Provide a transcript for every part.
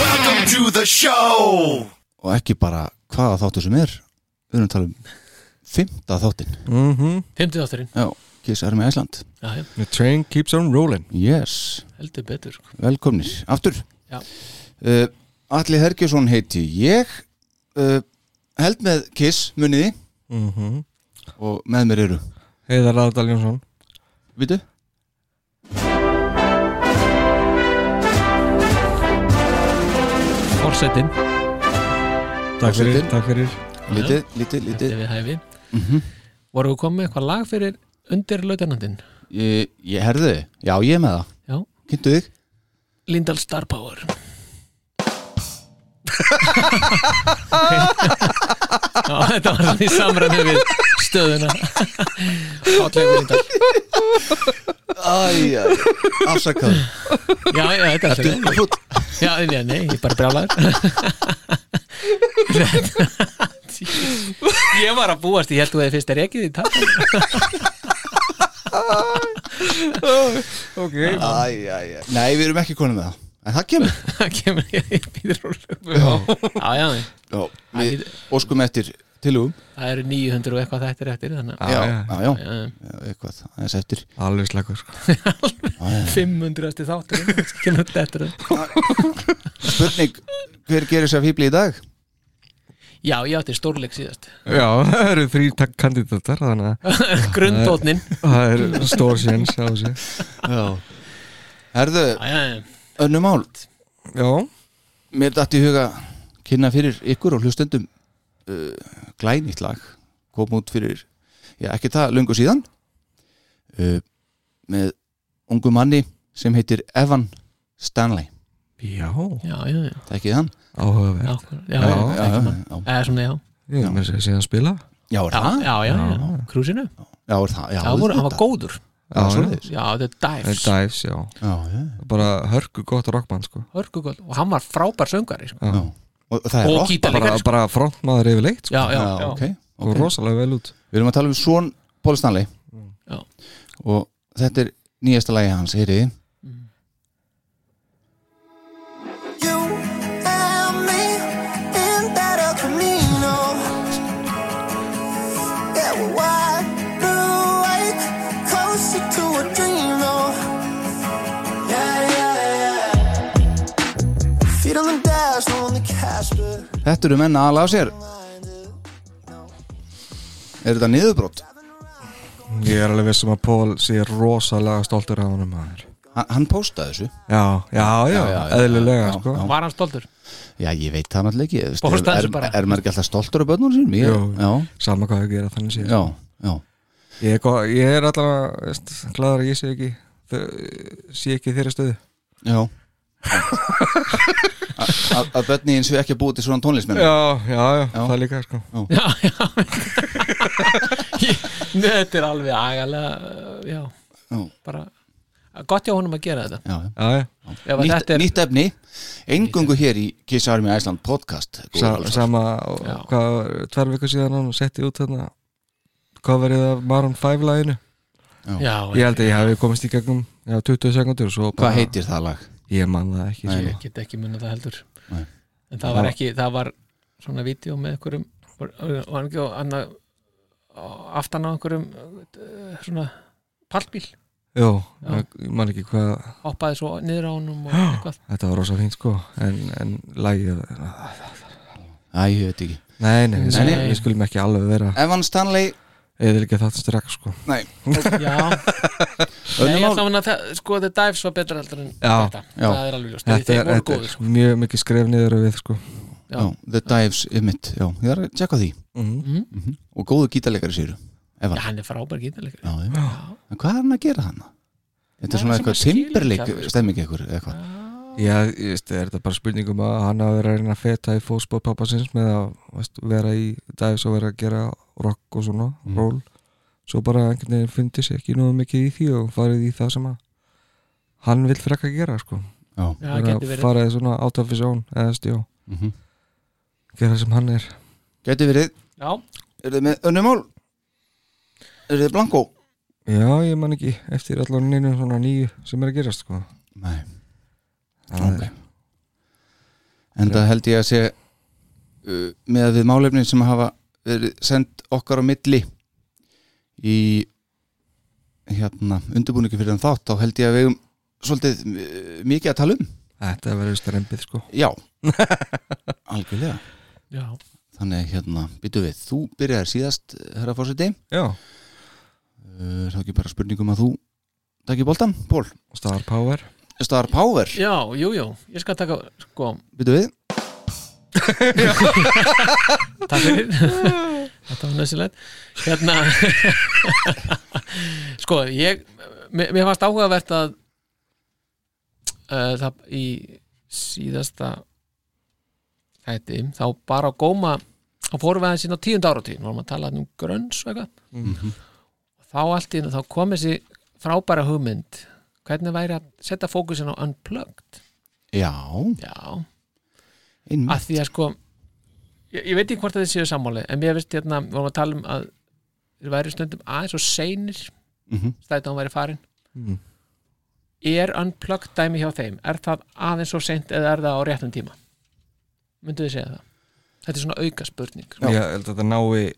Welcome to the show og ekki bara hvaða þáttur sem er við erum að tala um fymta þáttin Fymtið átturinn já, Kiss Army Iceland Já, já, The train keeps on rolling yes, heldur betur sko. velkomnir, aftur Já. uh, Atli Hergjesson heiti ég uh, held með Kiss muniði mm Mhm. -hmm. og með mér eru Heiðar Aðdal Jónsson Vitu? Forsetin, Takk fyrir, Forseti. takk fyrir Lítið, lítið, heldur lítið við hæfi Mhm. Vorum við komið eitthvað lag fyrir undir lautanandinn? Ég, ég herði, já ég er með það Já, Kynntu þig? Lindahl Star Power Já, þetta var svona í samræmi við stöðuna Hátlegur Lindahl Æja, afsakaður Já, já, þetta er Þetta er fúll. Já, já, nei, ég er bara brjálaður Ég var að búast, ég held þú að þið fyrst er ekki því tafn Ok, Æja, æja Nei, við erum ekki konum með það En það kemur það kemur ég í býður og lögum já, já, já, Við óskum eftir tilugum það eru 900 og eitthvað þættir eftir þannig að já, já. já, já, já, já, eitthvað, aðeins eftir alveg slagur sko. 500 eftir þáttur kemur þetta eftir það. Spurning, hver gerir sér fíbli í dag? já, ég átti stórleik síðast Já, það eru þrý takk kandidatar þannig að grundtótnin það er stór séns á þessu Já Herðu, Já, já, já. önnum mál Já, Mér datt í huga kynna fyrir ykkur og hlustendum uh, glænýtt lag kom út fyrir, já ekki það lungu síðan uh, með ungu manni sem heitir Evan Stanley já, já, já, já, Það ekki hann? áhugaverð Nákvæm- já, Já, já, já, já. já, eða svona, já Ég er með þess að segja að spila já, er já, það? já, já, já, krúsinu Já, er það, já, það voru, hann var auðvitað. góður Já, svoleiðis. já, þetta er En dives, Dives, já já, já, Bara hörku gott rockband sko hörgugóð og hann var frábær söngari sko. já. Og, og það er og rock Bara, gítalega sko. bara frontmaður yfir leitt sko. já, já, Já, já, ok, Og ok rosalega vel út Við erum að tala um svon Paul Stanley Já. Og þetta er nýjasta lagi hans, heyriði You and me in that El Camino. Yeah, we're wide awake, closer to a dream, though. Yeah, yeah, yeah. Feet on the dash, on the caster. Þetta eru menna aðla á sér Er þetta niðurbrot? Ég er alveg vissum að Paul sé rosalega stoltur af honum maður Hann, hann postaði þessu Já, já, já, já, já. eðlilega Já, sko já. var hann stoltur Já, ég veit það náttúrulega ekki Þú veist, Postaði er, þessu bara. er, er maður ekki alltaf stoltur af börnunum sínum? Ég, Jú. já, Sama hvað þau gera þannig séð já, já Ég er, gó- ég er allavega veist, gladur að ég sé ekki þau- sé ekki í þeirra stöðu Já A- Að að börnin eins og ekki að búa til svona tónlistmenn já, já, já, það líka sko já, já Ég- Nei, þetta er alveg agalega uh, já, Já. bara gott hjá honum að gera þetta já. já, já. ef að Nýtt, þetta er, nýtt efni Engungu hér í Kiss Army Iceland podcast góðir Sa, hlustar. sama, Já. hvað, tvær viku síðan hann setti út þarna coverið af Maroon 5 laginu já, ég held að ég hafi komist í gegnum já, 20 sekundur svo bara, Hvað heitir það lag? ég man það ekki Nei, sko. nei. ég get ekki munna það heldur Nei. en það var ekki, það var svona vídeo með einhverjum var var hann ekki á annað á- aftan á einhverjum uh, svona pallbíl, Jú, ég ég man ekki hvað hoppaði svo niður á honum og eitthvað, þetta var rosa fínt sko en, en lagið Æ, ég veit ekki nei, nei, við Nei. skulum, við skulum ekki alveg vera Evan Stanley eða ekki það strax sko Nei, Já, Nei, önnum ég mál ætla að muna það, sko, The Dives var betra heldur en Já, þetta já. Það er alveg ljóst, þetta þeir er, voru þetta góðir er sko. mjög mikið skref niður á við sko já, The Dives er mitt, já, ég er að tjekka því Mhm. Mhm. og góðu gítarleikari sér Já, Eva, já, hann er frábær gítarleikari já. En hvað er hann að gera hann? Þetta er svona Nei, sem eitthvað maður skilur timberleik ekki alveg, sko. stemming eitthvað, eitthvað. Já, ég veist, er þetta bara spurningum að hann hafi verið að reyna að feta í fótspóð pappasins með að veist, vera í dæfis og vera að gera rock og svona, Mm. roll svo bara einhvern veginn fundi sér ekki nógu mikið í því og farið í það sem að hann vil frekka gera sko Já, Já, það Bara getur verið farið svona out of his own eða stjó, mm gera sem hann er Gæti verið, Já, eru þið með önnum mál? Eru þið blanko? Já, ég man ekki eftir allan neinu svona nýju sem er að gerast sko Nei, Það Ok. er- en það held ég að sé uh, með að við málefnin sem hafa verið sendt okkar á milli í hérna, undirbúningi fyrir þann þátt þá held ég að við um svolítið uh, mikið að tala um Þetta verður strempið sko Já, algjörlega já, Þannig að, hérna, byttu við, þú byrjar síðast herra fórseti, Já, uh, þá ekki bara spurningum að þú takk í boltan, Pól star power Star Power, já, jú, jú Ég skal taka, sko, byttu við takk fyrir Þetta var nöðsilegt Hérna Sko, ég Mér, mér fannst áhugavert að uh, það í síðasta hætti, þá bara á góma þá fórum við aðeins inn á tíund áratíð vorum að tala um grönns og eitthvað og þá allt í hennu þá kom þessi frábæra hugmynd hvernig væri að setja fókusin á unplugged Já, já, einmitt að því að sko ég, ég veit ekki hvort að þið séu sammáli en mér veist hérna, við vorum að tala um að þeir væri stundum aðeins og seinir Mhm. stætt að hún væri farin Mm. er unplugged dæmi hjá þeim er það aðeins og seint eða er það á réttum tíma myndu þið segja það þetta er svona auka spurning Ég held að þetta nái,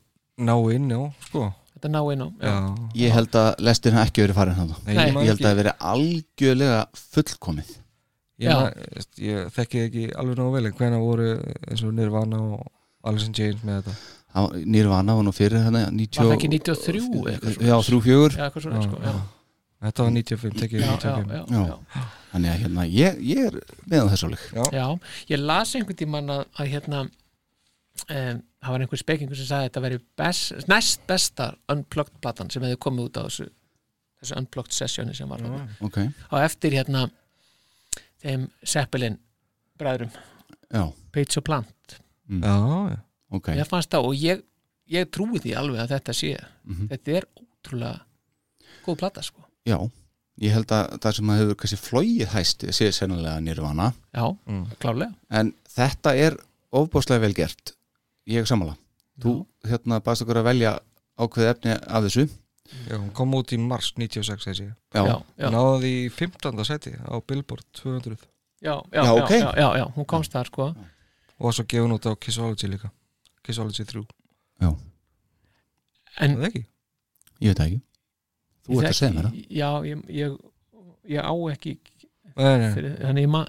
nái inn já, sko þetta ná inn á já. Já, Ég held að lestin hafa ekki verið farin hann Nei, Nei. ég, man Ég held að ekki, það verið algjörlega fullkomið ég, man, veist, ég þekki það ekki alveg nógu vel en hvenær voru eins og Nirvana og Alice in Chains með þetta Nýrvana var nú fyrir hann var það ekki 93 eitthvað svo Já, 34 já, eitthvað svona, sko, já, Þetta var 95, tekið já, 95 já, já, já. Þannig að hérna, ég, ég er með á þessu alveg Já, ég las einhvern tímann að, að hérna um, það var einhver spekingur sem sagði að þetta veri best, næst besta unplugged platan sem hefði komið út á þessu, þessu unplugged sessioni sem var hérna. Ok, á eftir hérna þeim Seppelin bræðrum já, Page og Plant Já, já, ok mér fannst það og ég, ég trúi því alveg að þetta sé Mhm. þetta er ótrúlega góð plata sko Já, ég held að það sem að hefur kannski flóið hæst sé sennilega Nirvana já, Mm. klálega en þetta er ofbáslega vel gert ég er sammála þú hérna baðst okkur að velja ákveð efni af þessu já, hún kom út í mars 96 þessi já, já, já, já, Náði því 15. seti á Billboard 200 já, já, Já, já, ok. já, já, já, hún komst þar sko og var svo gefin út á Kissology líka Kissology 3, en það ekki? ég veit það ekki þú ert að segja mér það það já, ég, ég, ég á ekki Nei, nei, nei. fyrir, þannig ég ma,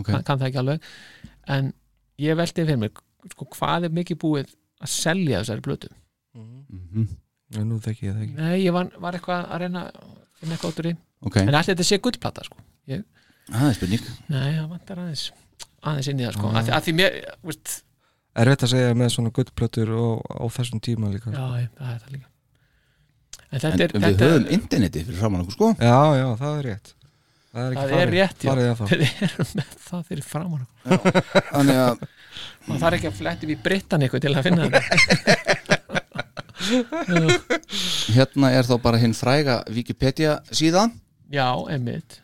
Ok. kann, kann það ekki alveg en ég velti fyrir mér sko, hvað er mikið búið að selja þessari blötu Mhm. Nei, nú þekki ég það ekki nei, ég var, var eitthvað að reyna að finna eitthvað út úr því, ok, en allir þetta sé gullplata sko. það er spurning nei, það vantar aðeins aðeins inn í það, sko, Ah. að, því- að því mér veist, Er þetta að segja með svona guttplötur og, á þessum tíma líka? já, ég, það er það líka en en þetta er, við þetta, höfum interneti fyrir framan okkur sko já, já, það er rétt Það er, ekki það farið, er rétt já. farið að það við erum með það fyrir framann þannig að, maður þarf ekki að fletti við Brittan eitthvað til að finna það hérna er þá bara hinn fræga Wikipedia síðan já, emmitt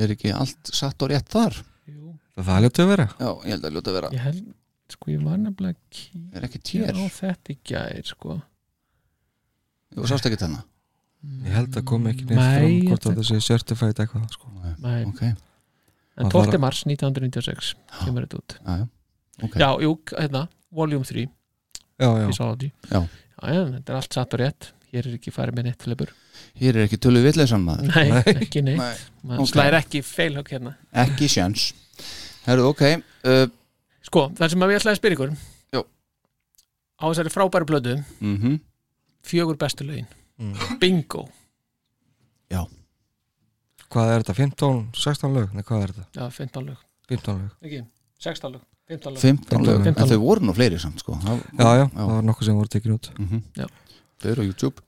er ekki allt satt og rétt þar jú Það er ljóttu að vera já, ég held að ljóta vera ég held, sko ég var nefnilega að kíkja er ekki tér, á þetta í gær sko þú sást ekki þarna Ég held að kom ekki neitt Nei, fram ég hvort held að það sé certified eitthvað sko. Nei, ok, já, en Það 12. var- mars 1996 kemur þetta út já, ok já, jú, hérna, volume 3 Já, já, Physiology Já. já, já, þetta er allt satt og rétt hér er ekki farið með neitt tilöpur hér er ekki tölu villeysan maður nei, ekki neitt Nei. maður ok. slæðir ekki feilhögg hérna ekki sjans herru, ok, uh, sko, það sem að við ætlaði að spyrja ykkur Jú. á þessari frábæru blödu mhm fjögur bestu lögin bingo, já, Hvað er þetta? 15, 16 lög? Nei, hvað er þetta? já, 15 lög 15 lög ekki, 16 lög, 15 lög 15 lög, en 15 þau voru nú fleiri samt sko, það, Já, já, það var nokkuð sem voru tekin út þau eru á YouTube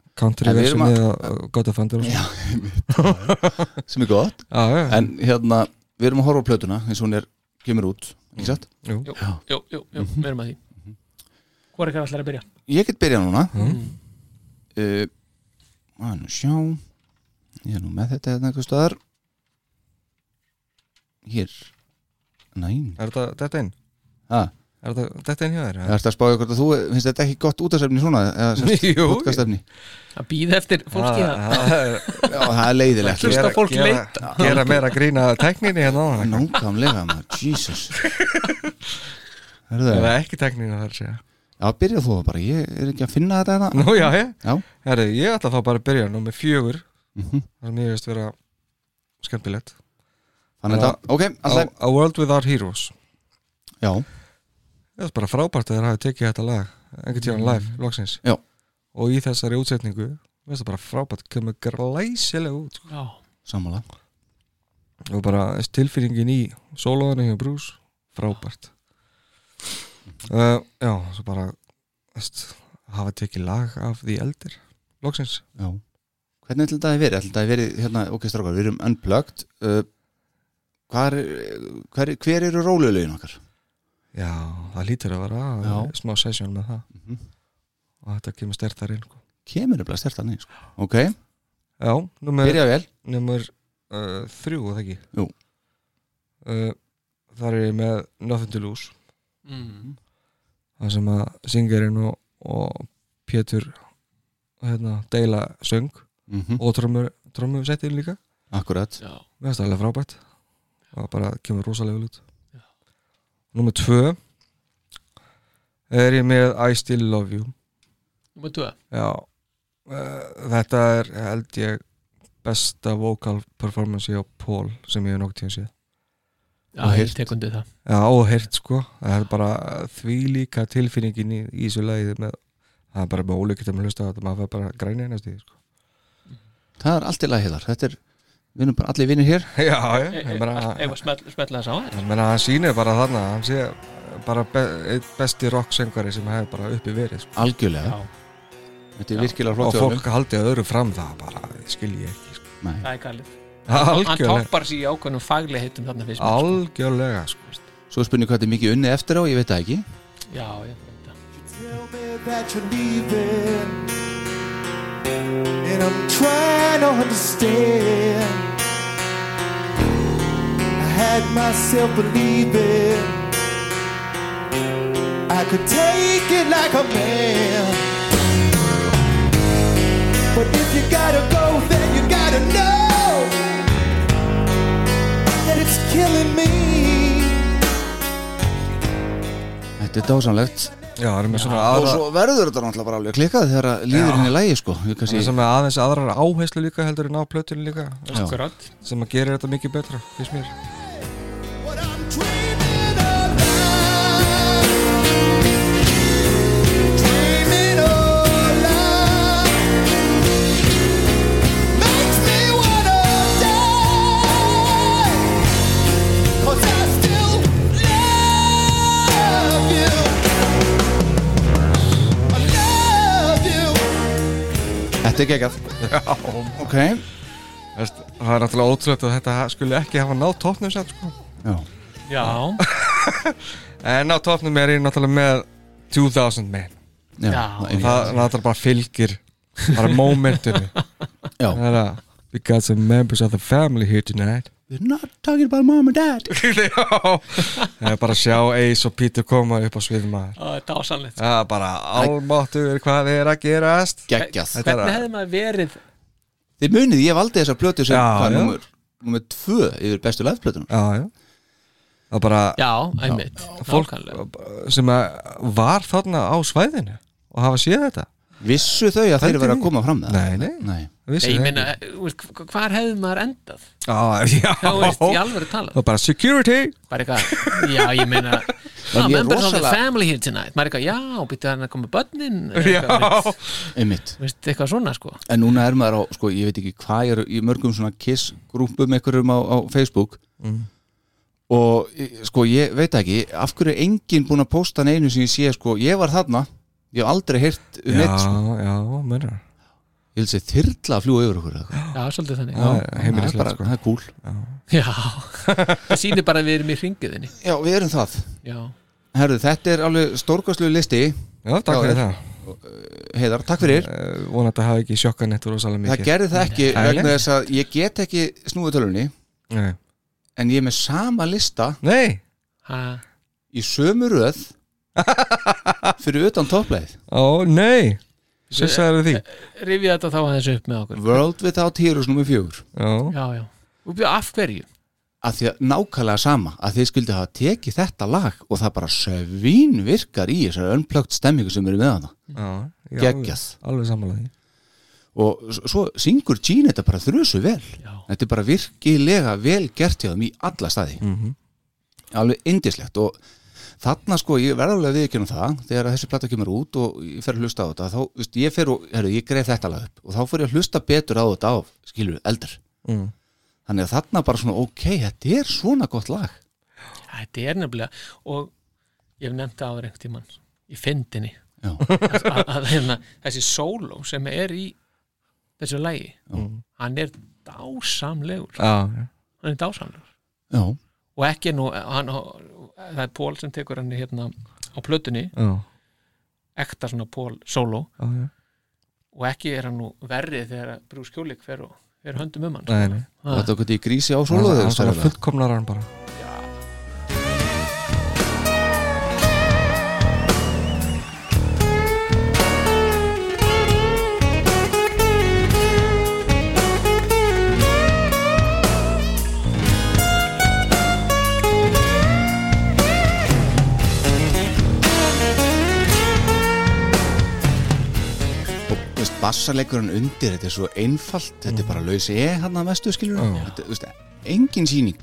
Mm. Country En við erum version að- eða uh, God of Thunder og svona. sem er gott, Já, já, já en hérna við erum að horfa á plötuna eins og hún er, kemur út, ekki satt? Jú. jú, jú, jú, jú, Mhm. við erum að því hvað er ekki allar að byrja? Ég get byrjað núna mm. uh, að nú sjá ég er nú með þetta hérna eitthvað staðar hér næn, Er þetta þetta inn? það Er þetta þetta inn hjá þér? Það ert að spája hvort að þú finnst þetta ekki gott útastefni svona eða semst Jú. podcastefni að býða eftir fólki Það- að það er- Já, það er leiðilegt Hlusta gera- fólk gera- leita. Gera meira grína tekninni hérna á Mm. hana Nákvæmlega maður, Jesus Herðu, Eða ekki tekninni þar sé Já, byrja þú bara, ég er ekki að finna þetta hérna Nú já, ég Já, Mhm. Herri, ég ætla þá bara að byrja Númer fjögur Það er mjög veist vera skemmtilegt þannig að Já. þetta, ok, A, alltaf a World Without Heroes Já, Það er bara frábært að þeir hafi tekið þetta lag einhvern tíðan live, loksins Mm. Já. Og í þessari útsetningu Mér finnst það bara frábært Kemur glæsilega út sko. já, sammála Og bara þessi tilfýringin í sólóðinu hjá Bruce Frábært Mm-hmm. uh, Já, svo bara veist, Hafa tekið lag af því eldir Loksins Já Hvernig ætla þetta að verið? Ætla þetta að verið, hérna, ok, strákar, við erum unplugged uh, hvar, hver, hver eru rólulegin okkar? Já, það lítur að vera Já. smá sesjón með það Mhm. og þetta kemur stert þar inn sko. Kemur nefnilega stert þannig, sko Ok, Já, nummer, byrja vel nummer uh, þrjú, er það ekki? Jú. uh, Þar er ég með Nothing to Lose mm. það sem að syngerinn og, og Pétur hérna, deila söng mm og trommur, trommur settið líka Akkurat, já, Mér finnst það alveg frábært og bara kemur rosalega vel út Númer tvö er ég með I Still Love You nummer 2 Já, uh, þetta er held ég besta vocal performance á Paul sem ég hef nokkuð tíðan séð já, Og ég heyrt. tek undir það Já, og heyrt sko, það er bara því líka tilfinningin í, í þessu lagi með, það er bara með ólíkitt að maður hlusta á þetta, maður fær bara grænið næstu því sko. það er allt í lagi þar Þetta er, við erum bara allir vinnir hér Já, já, E- ég e- meina, allt- ef að smell- smella þess á ég meina, hann sýnir bara þarna, hann sé bara be, einn besti rocksöngari sem hefur bara uppi verið sko. Algjörlega, já, þetta er virkilega og flott hjá honum. fólk haldið öðru fram það bara, skil ég ekki sko. Nei. það er galið hann algjörlega, toppar sér í ákveðnum fagli heitum þarna fyrst algjörlega sko. Svo er spurning hvað þetta er mikið unnið eftir á, ég veit það ekki já, ég veit það Tell me that you're leaving. And I'm trying to understand. I had myself believing I could take it like a man. But if you gotta go, then you gotta know that it's killing me. Þetta er dásamlegt Já, það er með svona Og aðra svo verður þetta náttúrulega bara alveg klikkað þegar að líður henni lægi sko Ég Það kannski, sem er aðeins aðrar áherslu líka heldur en á plötunni líka já, Grönt. sem að gera þetta mikið betra, finnst mér What I'm dreaming of, dreaming of, makes me wanna die. 'Cause I still love you. I love you. þetta er geggjað Ok, Veist, Það er náttúrulega ótrúlegt að þetta skulle ekki hafa náð toppnum sér sko. já, já, en á toppnum er ég náttúrulega með 2000 men já, Já. já, það náttúrulega bara fylgir bara momentinu já. Það er að We got some members of the family here tonight We're not talking about mom and dad Já Það er bara að sjá Ace og Peter koma upp á sviðum maður það er dásanlegt Það er bara almáttur hvað er að gerast Geggjað Þetta er hvernig að- hefði maður verið Þið munið, ég valdi þessar plötu sem Já, var já. nummer, nummer tvö yfir bestu liveplötunum Já, já Það er bara já, einmitt, fólk nákvæmlega sem að var þarna á svæðinu og hafa séð þetta Vissu þau að þeir Heldur verið að við? koma fram með Nei, það? nei. nei Nei, ég meina, þú veist, hvar hefði maður endað? á, já, Já, þú veist, í alvöru það talað var bara security Bara eitthvað, já, ég meina En ég er members of the rosalega family here tonight maður er eitthvað, já, býttu hann að koma með börnin Já, einmitt veist, eitthvað svona sko En núna er maður á, sko, ég veit ekki hvað ég er í mörgum svona kiss-grúpum einhverjum á, á Facebook og eh, sko, ég veit ekki af hverju er enginn búin að posta neinu sem ég sé, sko, ég var þarna ég hef aldrei heyrt um já, neitt sko. já, meinar ég held sér þyrla að fljúa yfir okkur eða eitthvað. já, svolítið þannig Já. já, er það er heimilislegt, bara, sko. það er cool það sýnir bara að við erum í ringiðinni Já, við erum það já, Herðu, þetta er alveg stórkostlu listi Já, takk Já, fyrir er- það Heiðar, takk fyrir uh, Vona að það hafi ekki sjokkað nettur rosalega Það mikið gerði það ekki Nei. vegna þess að ég get ekki snúið tölunni Nei, en ég er með sama lista Nei. ha, í sömu röð fyrir utan toppleið ó nei Svo sagði því rifið þetta þá aðeins upp með okkur World Without Heroes nummer fjögur Já, já, já, og bjó, af hverju að því að nákvæmlega sama að þið skildi hafa tekið þetta lag og það bara sövín virkar í þessari önplögt stemmingu sem eru með hana já, já geggjað Alveg samanlega því og s- svo syngur Gene þetta bara þrjusu vel já, þetta er bara virkilega vel gert hjá þeim í alla staði Mhm. alveg indislegt og þarna sko ég verða alveg að viðkynna það þegar þessi plata kemur út og ég fer að hlusta á þetta þá, veist, ég fer og, herru, ég greið þetta lag upp og þá fór ég að hlusta betur á þetta á skilur eldar mm. þannig að þarna bara svona ok, þetta er svona gott lag þetta er nefnilega og ég hef nefnt það áður einhvern tímann í fyndinni Já. að, að, að hérna, þessi sóló sem er í þessu lægi hann er dásamlegur Já, já. hann er dásamlegur já, og ekki nú hann, það er Pól sem tekur hann hérna á plötunni, já, ekta svona Pól sóló já, já. og ekki er hann nú verrið þegar Brús Kjólik fer og fer höndum um hann Nei, nei og þetta okkur í grísi á Það sóluðu er svona fullkomnar hann bara og veist, bassaleikurinn undir þetta er svo einfalt, þetta Mm. er bara laus ég hann að mestu skilur Já. þetta, veist, engin síning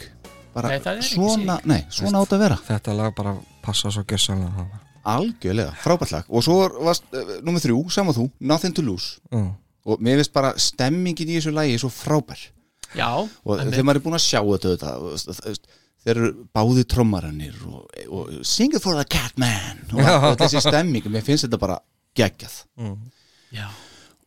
bara Nei, það er engin svona, nei, svona átt að vera Þetta lag bara passa svo gjössanlega það algjörlega, frábært lag og svo varst, uh, nummer þrjú, sama þú, Nothing to Lose Já, og mér finnst bara stemmingin í þessu lagi er svo frábær já, og en þegar maður er búinn að sjá þetta, þetta þú veist, þú veist, þeir eru báði trommarannir og, og sing it for the cat man og, og þessi stemming, mér finnst þetta bara geggjað já,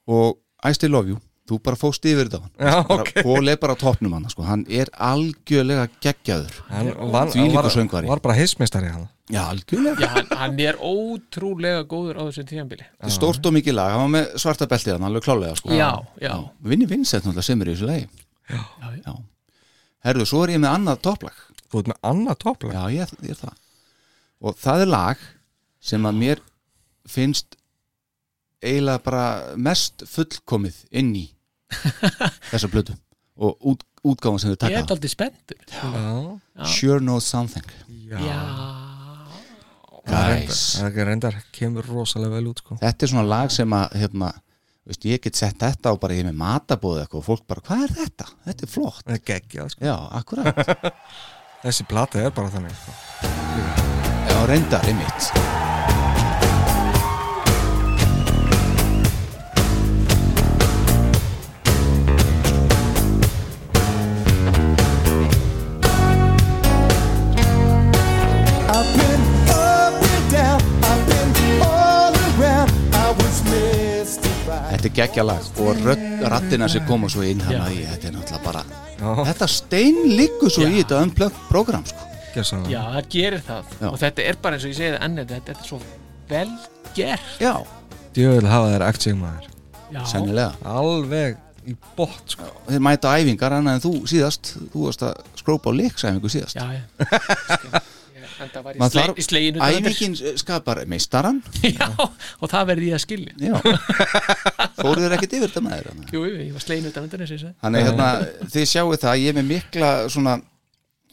og I still love you þú bara fóst yfir þetta á hann já ok okay. Pól er bara á toppnum hann sko. hann er algjörlega geggjaður Hann var, Þvílíkur var, söngvari. var bara heismistari hann já, algjörlega, já hann, hann er ótrúlega góður á þessu tíðanbili Þetta er stórt og mikið lag hann var með svarta beltið hann, alveg klálega sko. Já, já. Vinni Vincent náttúrulega sem er í þessu lagi Já, já. herðu, svo er ég með annað topplag Þú ert með annað topplag já, ég, ég er það og það er lag sem að mér finnst eiginlega bara mest fullkomið inn í þessa blödu og út, útgáfan sem þau ég taka er aldrei spenntur Já, Sure Knows Something já, guys Það er reyndar, kemur rosalega vel út sko þetta er svona lag sem að hérna, veist, ég get sett þetta og bara ég er með matabóð eitthvað og fólk bara, hvað er þetta? Þetta er flott Það er geggjað sko já, akkurat, Þessi plata er bara þannig sko. já, reyndar í mitt I've been up and down, I've been all around. I was mystified. þetta er geggja lag og rödd- rattina sem koma svo inn hann í, þetta er náttúrulega bara Já, þetta stein liggur svo í Já. þetta unplugged program sko. gjössanlega já, það gerir það Já. og þetta er bara eins og ég segi það enn þetta, þetta er svo vel gert já, Djöðl hafa þær eftir sig maður já, sennilega Alveg í bótt sko. þeir mæta á æfingar annað en þú síðast þú varst að skrópa á leiksæfingu síðast já, já. Ég- enda var í, Maður sle, þarf- í sleginu daginn eftir. æfingin eh, skapar meistaran já, og það verði ég að skilja já fóruð þér ekkert yfir þetta maður hann jú, jú, ég var sleginu utan undan þessu Þannig að hérna, þið sjáu það, ég er með mikla svona,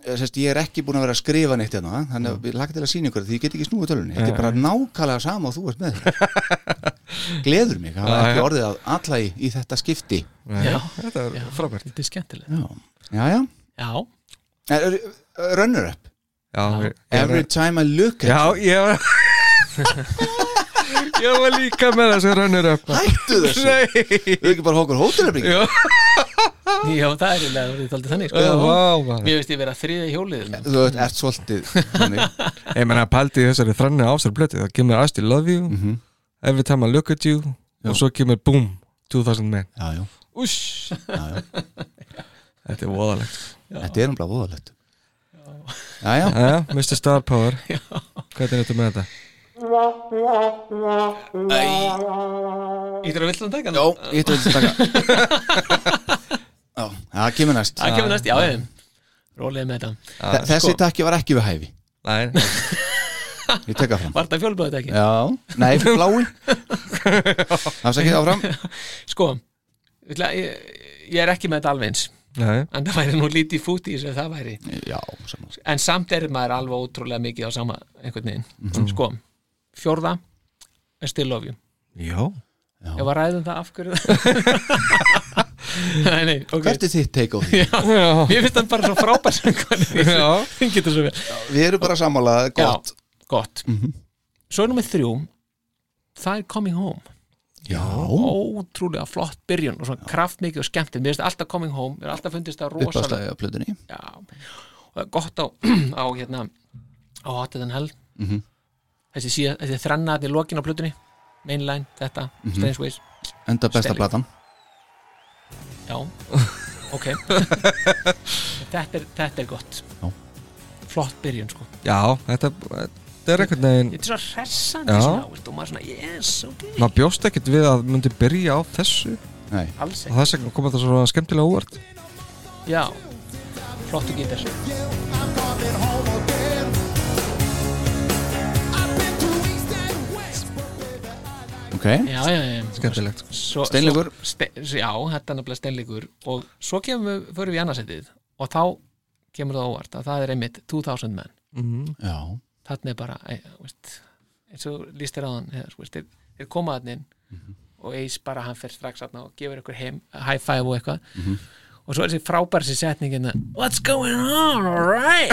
eh, sérst, ég er ekki búin að vera að skrifa neitt hérna, þannig að ég lagt til að sína ykkur því ég get ekki snúið tölunni, þetta er bara nákvæmlega sama og þú ert með þetta. Gleður mig, það var Já, já. ekki orðið að alla í, í þetta skipti. Já. Þetta er frábært þetta er skemmtilega Já, já, já. já, Er, er, runner up, já, já, Every time I look at já ég var ég var líka með þessu rönnur upp Hættu þessu Nei. nei Þau ekki bara hókur hótturefning já, Já, það er eiginlega orðið þaldið þannig sko. já, vá, maður. Mér veist ég vera þriða í hjólið Þú veist, ert svolítið þannig. ég menna pældi í þessari þrannu ásar blöti það kemur I still love you every time I look at you og svo kemur boom 2000 men Já, já, Úsh. já, já þetta er voðalegt Þetta er umlað voðalegt Já, já, já, já, Mr. Star Power hvernig er þetta með þetta? Ítur að villan taka já, ég ætla að taka Já, það kemur næst Það kemur næst, sko. já, ég Rólið með þetta Þa- Þessi takki var ekki við hæfi Nei, Ég tekka fram Var þetta fjólblöðið ekki? Já, nei, blái Afsakið áfram Sko, ég, ætla- ég, ég er ekki með þetta alveg eins nei, En það væri nú lítið fút í þessu það væri Já, saman En samt er maður alveg ótrúlega mikið á sama einhvern veginn Mhm. Sko, fjórða er still love you já Ég var ræðum um það af hverju það Nei, nei, ok Hvert er þitt take á því? já, Mér finnst það bara svo frábær söngvari já, Hún getur svo vel Við erum bara sammálað, gott Já, gott Mhm. Svo er nummer þrjú Það er Coming Home Já, Ótrúlega flott byrjun og svona kraftmikið og skemmtið Mér finnst alltaf Coming Home, mér er alltaf fundist það rosalega uppáðslega á plötunni Já, og það er gott á, á hérna á Hotter Than Hell Mhm. þessi, síða, þessi þrenna þetta er lokin á plötunni Mainline, þetta, Mhm. Strange Ways Enda besta Stelling. platan Já, ok þetta, er, þetta er gott Já. Flott byrjun sko já þetta, þetta er einhvern veginn Þetta er svo hressandi Já. svona, veist, og maður svona, yes, ok maður bjóst ekkert við að myndi byrja á þessu Nei, Alls og ekki, þess vegna koma þetta svona skemmtilega óvart já Flottu gítar ok Já, já, já, já skemmtilegt svo, Steinleikur. svo, ste, Já, þetta er nefnilega steinleikur og svo kemur, förum við í annarsætið og þá kemur það á óvart að það er einmitt 2000 menn, Já, þannig er bara æ, veist, eins og líst þér á hann veist, þeir, þeir koma þannig inn Mhm. og eis bara hann fer strax aðna og gefur ykkur heim, high five og eitthvað Mhm. og svo er þessi frábær sér setningin what's going on, alright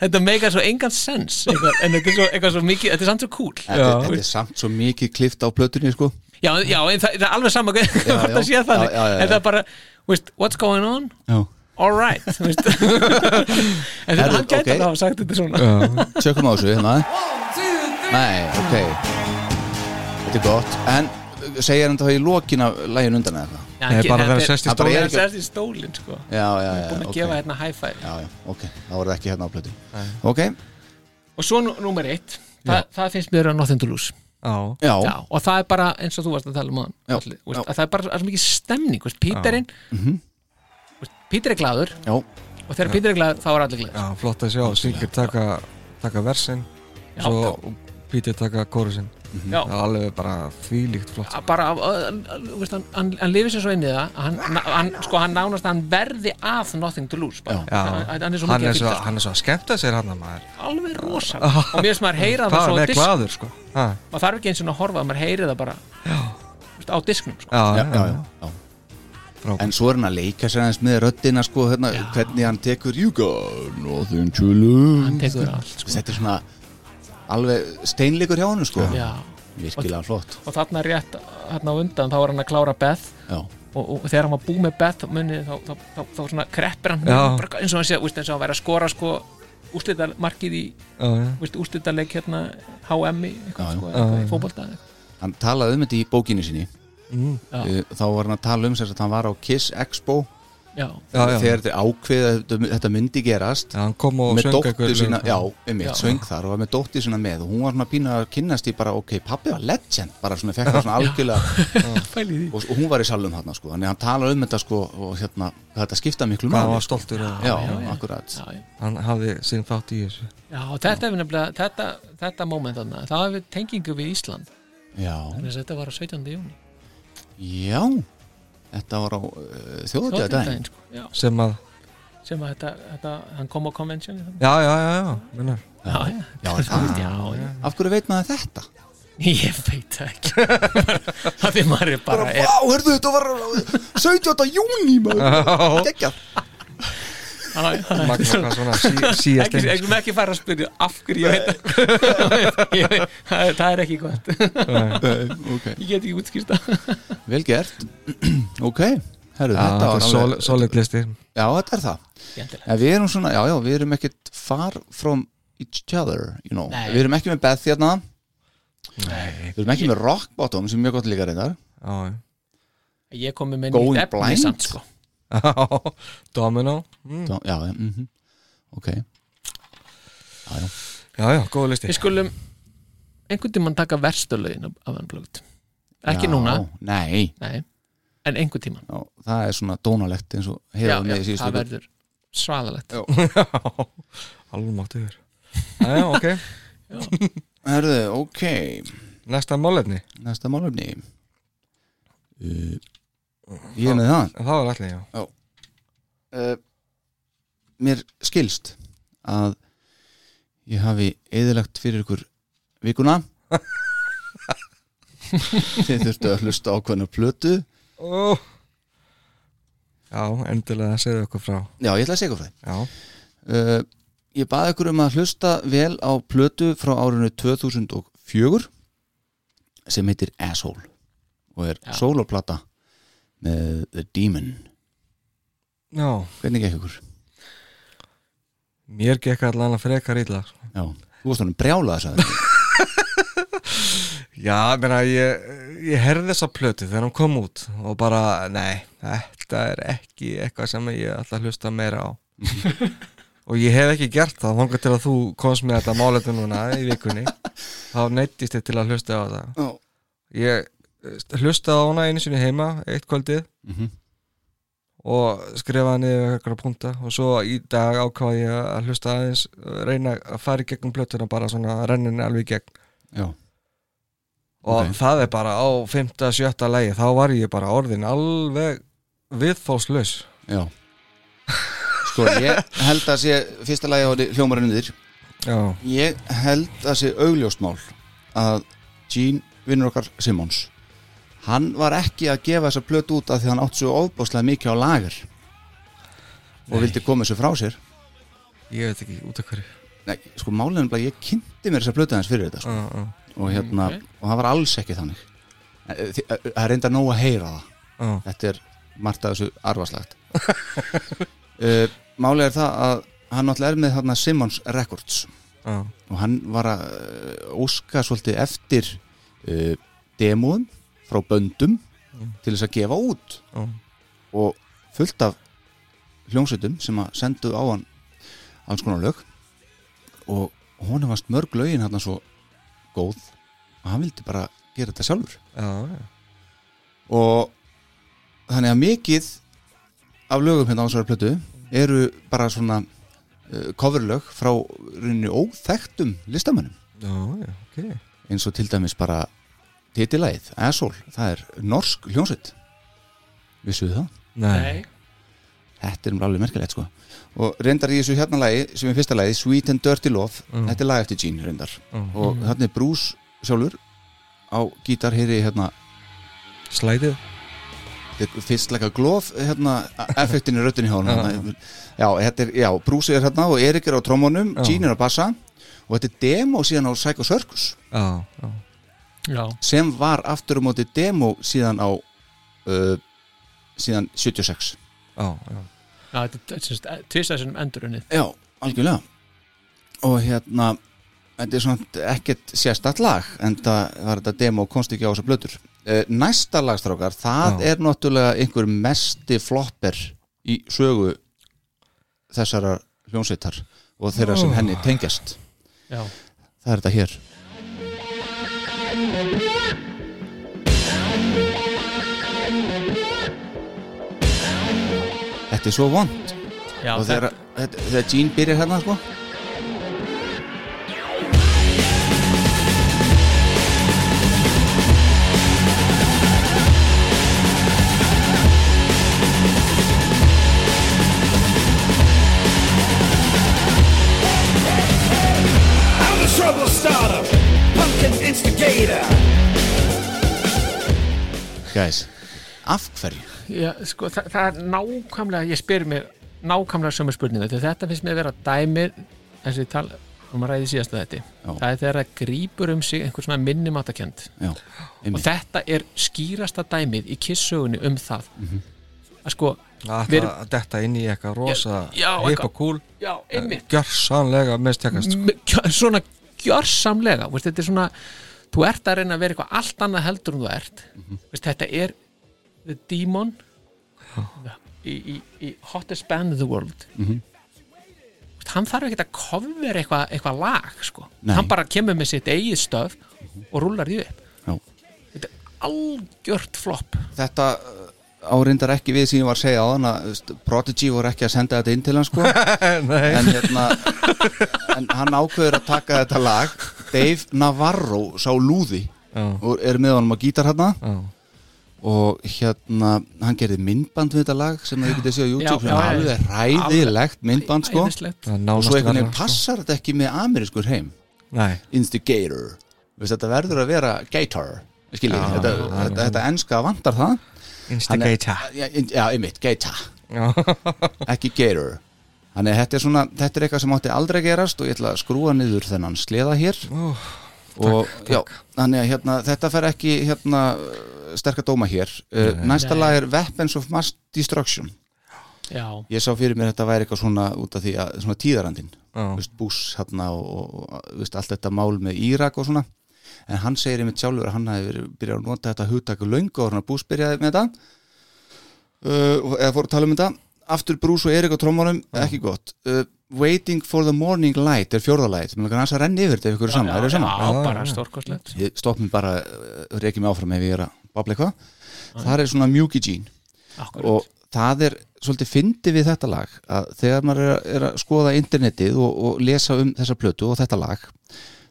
þetta meikar svo engan sens eitthvað, en þetta er svo, eitthvað svo mikið, þetta er samt svo cool þetta, þetta er samt svo mikið klift á plötunni, sko Já, já, en það, það er alveg sama hvað hvort það sé já. þannig Já, já, já, en já. það er bara, veist, what's going on? Já All right þú veist. En Herðu, þannig hann gæti ok. okay. að hafa sagt þetta svona Tjökkum á þessu, hérna Nei, ok Þetta er gott En uh, segir hann það í lokin af lægin undan eða eitthvað? Já, Nei, hann- bara hann vera fer- sest í hann stólinn. bara er sest í stólinn sko. Já, já, Hann já, er búin að ok. gefa hérna high five Já, já, ok Það voru ekki hérna á plötunni Ok, Og svo nú- númer eitt Þa, það finnst mér að Nothing to Lose já, já, já, og það er bara eins og þú varst að tala um hann Já, allir, veist, já. að það er bara svo mikið stemning veist, Píterinn veist, Píter er glæður já, og þegar Píter er glæður þá er allir glæður já flott að sjá Sigur taka, taka versin Já. svo Pítur taka kórusin Já. það er alveg bara þvílíkt flott Að bara, að- að- að- þú veist, hann, hann, hann lifir sér svo inn í það að hann, na- hann, sko, hann nánast að hann verði að nothing to lose bara. já, hann, hann er svo hann mikið er að svo, fylgja hann er svo að skemmta sér hann að maður alveg rosa og mér finnst maður heyra það hvað svo hann á er disk glaður sko ha, maður þarf ekki eins og að horfa, maður heyri það bara þú veist, á disknum sko. já, já, já, já, já. Frábært. En svo er hann að leika sér aðeins með röddina sko, hérna, hvernig hann tekur You got nothing to lose Hann tekur allt, sko. Þetta er svona alveg steinleikur hjá hann sko. Já. Virkilega flott og þarna rétt þarna á undan þá er hann að klára Beth Já, og, og þegar hann var búið með Beth munið, þá, þá, þá, þá, svona kreppir hann Já. bara eins og hann sé, þú veist, eins og hann væri að skora sko, úrslitamarkið í já, já. þú veist, úrslitaleg hérna HM í eitthvað, Já, já. sko, eitthvað, í fótbolta eða eitthvað. hann talaði um þetta í bókinni sinni Mm. Já. Eh, Þá var hann að tala um þess að hann var á Kiss Expo Já, Já, já. Þegar þetta ákveða þetta myndi gerast Já, hann kom og Með söng dóttir eitthvað sína, lög. já, um mitt, Já. söng þar og var með dóttir sína með og hún var svona pínu að kynnast í bara, ok, pappi var legend bara svona, fekk það svona algjörlega pæli því og, og hún var í salum þarna sko þannig að hann talar um þetta sko og hérna hvað þetta skipta miklu hvað hann máli var sko. stoltur af- já, Já, já. akkurat Já, já. hann hafði sinn þátt í þessu já og þetta er nefnilega þetta, þetta moment þarna, það hefur tengingu við Ísland já, þannig að þetta var á 17. júni já þetta var á uh, þjóðatíða daginn sko. Já, sem að, sem að þetta, þetta hann kom á konvensjoni já, já, já, já, já, minnar já, já, Já, já, já, já. af hverju veit maður þetta? ég veit það ekki það því maður er bara eh, er, uh, vá, hörðu þetta var 17. júni maður, geggjað magna hvað svona sí- síast ekki, eins ekki, ekki fara að spyrja af hverju ég veit það Ég veit- það er- það er ekki gott Eh, ok ég get ekki útskýrta Vel gert Ok, herru, Já, þetta þetta var er alveg solid- solid listi Já, þetta er það En við erum svona, já, já, við erum ekkert far from each other, you know Nei. Við erum ekki með Beth hérna Við erum ekki með Rock Bottom sem er mjög gott líka reyndar Já, já. ég kom með Going nýtt efni blind? samt sko Domino Já, já, mm ok Já, já, góð listi við skulum einhvern tímann taka verstulögin af Unplugged ekki já, núna, Nei, nei en einhvern tímann já, það er svona dónalegt eins og já, hefur já, með í síðustu það viku. verður svaðalegt Alveg mátt yfir Já, já, ok Herðu, ok, Næsta málefni næsta málefni uh, Ég er með það Það var allir, já uh, mér skilst að ég hafi eðilagt fyrir ykkur vikuna þið þurftu að hlusta á hvernig plötu Ó. Já, endilega segðu okkur frá já, ég ætla að segja ykkur frá Já, því uh, ég baði ykkur um að hlusta vel á plötu frá árinu 2004 sem heitir Asshole og er Já. soloplata með The Demon já hvernig gekk ykkur? Mér gekk allan að frekar illa sko. Já, þú varst honum brjálaða sagði hann. Já, ég meina, ég, ég herði þessa plötu þegar hún kom út og bara, nei, þetta er ekki eitthvað sem ég ætla að hlusta meira á og ég hef ekki gert það þangar til að þú komst með þetta máletu núna í vikunni, þá neittist ég til að hlusta á það Já. Ég eh, hlustaði á hana einu sinni heima eitt kvöldið Mhm. og skrifaði niður eitthvað punta og svo í dag ákvað ég að hlusta aðeins eh, reyna að fara í gegnum plötuna bara svona renninni alveg í gegn já, og Ok. það er bara á 5. 7. lægi þá var ég bara orðin alveg viðfáslaus Já Sko, ég held að sé fyrsta lagi á því hljómarinn undir já, Ég held að sé augljóst mál að Gene vinnur okkar Simmons Hann var ekki að gefa þessa plötu út af því að hann átt svo ofbáslega mikið á lager og vildi koma þessu frá sér ég veit ekki út af hverju Nei, sko málefnum bara ég kynnti mér þessa plötu hans fyrir þetta sko. já, já, og hérna, ok. og það var alls ekki þannig Eh, eh, þi- eh, Það er reynda nóg að heyra það já, þetta er margt af þessu arfaslagt uh, Málið er það að hann náttúrulega er með þarna Simmons Records já, og hann var að eh, óska svolítið eftir uh, demóðum frá böndum til þess að gefa út Mm. já, og fullt af hljómsveitum sem að sendu á hann alls konar lög og honum varst mörg lögin hann svo góð og hann vildi bara gera þetta sjálfur já, og þannig að mikið af lögum hérna á þessari plötu eru bara svona uh, coverlög frá rauninni óþektum listamönnum já, já, ok eins og til dæmis bara titilæð, Asshole, það er norsk hljónsveit vissuðu það? nei, Þetta er um alveg merkilegt sko og reyndar í þessu hérna lagi, sem er fyrsta lagi Sweet and Dirty Love, Mm. þetta er lag eftir Gene reyndar Mm. og þarna er Bruce sjálfur á gítar heyri hérna slætið Þetta er fyrst like a glove hérna, effektin í röddinni hjá hann já, þetta er, já, Bruce er hérna og Erik er á trommunum, Já. Gene er á bassa og þetta er demo síðan á Psycho Circus já, já, já, sem var aftur á móti demo síðan á uh, síðan 76 já, já, já þetta er semst tvisæðsum endurunni já, algjörlega og hérna þetta er svona ekkert sérstætt lag en það var þetta demo komst ekki á þessa blötur uh, næsta lagstrákar, það Já. er náttúrulega einhver mesti flopper í sögu þessara hljónsveitar og þeirra sem henni tengjast já, það er þetta hér Þetta er svo vond já og þegar, þetta, þetta, þegar Gene byrjar hérna sko I'm the trouble starter, pumpkin instigator. Guys, af hverju? já, sko, það, það er nákvæmlega ég spyr mér nákvæmlega sömu spurningu þegar þetta finnst mér að vera dæmir eins og ég tala um að ræði síðasta þetta Já. það er þegar það grípur um sig einhver svona minnimátakend já, og einmitt þetta er skýrasta dæmið í kissugunni um það Mhm. að sko, að Við það að detta inn í eitthvað rosa Já, já, hip og cool já, einmitt gjörsanlega mistekast Me- gjör- svona gjörsamlega veist, þetta er svona, þú ert að reyna að vera eitthvað allt annað heldur en þú ert Mhm. veist, þetta er the demon í, í, í hottest band in the world Mhm. veist, hann þarf ekkert að cover eitthvað eitthva lag sko. Nei. Mhm. hann bara kemur með sitt eigið stöf og rúlar því upp Já. þetta er algjört flopp þetta árindar ekki við sem ég var að segja á hann að þú veist, Prodigy voru ekki að senda þetta inn til hann sko Nei, en, hérna, en hann ákveður að taka þetta lag Dave Navarro sá lúði já, og er með honum á gítar hérna já, og hérna, hann gerði myndband við þetta lag sem þið getið séð á YouTube Já, sem já, er já. alveg ræðilegt myndband sko Æðislegt. það er og nánast svo einhvern verra, veginn sko. passar þetta ekki með amerískur heim Nei, Instigator Veist, þetta verður að vera gator skiljið, Já, þetta, já, þetta, þetta enska vantar það instigator já, in- já, einmitt, gator, Já, ekki gator þannig að þetta er svona, þetta er eitthvað sem átti aldrei að gerast og ég ætla að skrúa niður þennan sleða hér Ó, og já, þannig að hérna, þetta fer ekki hérna, sterka dóma hér uh, næsta Nei. lag er Weapons of Mass Destruction já, ég sá fyrir mér að þetta væri eitthvað svona út af því að svona tíðarandinn já, Þú veist, Bush hérna og, og, og veist, allt þetta mál með Írak og svona en hann segir einmitt sjálfur að hann hafi verið byrjað að nota þetta hugtaku löngu og hann að Bush byrjaði með þetta uh, og- eða fór að tala um þetta aftur Bruce og Erik og trómónum, ekki gott uh, Waiting for the Morning Light er fjórðalægit, mér langar hans að renni yfir þetta ef ykkur er sama, er já, það sama? já, Já, bara já. stórkostlegt Ég- stopp mér bara, uh, reykja mig áfram ef ég er að babla eitthvað, það er svona mjúki gene Akkurat. og það er svolítið fyndið við þetta lag að þegar maður er að, er að skoða internetið og, og lesa um þessa plötu og þetta lag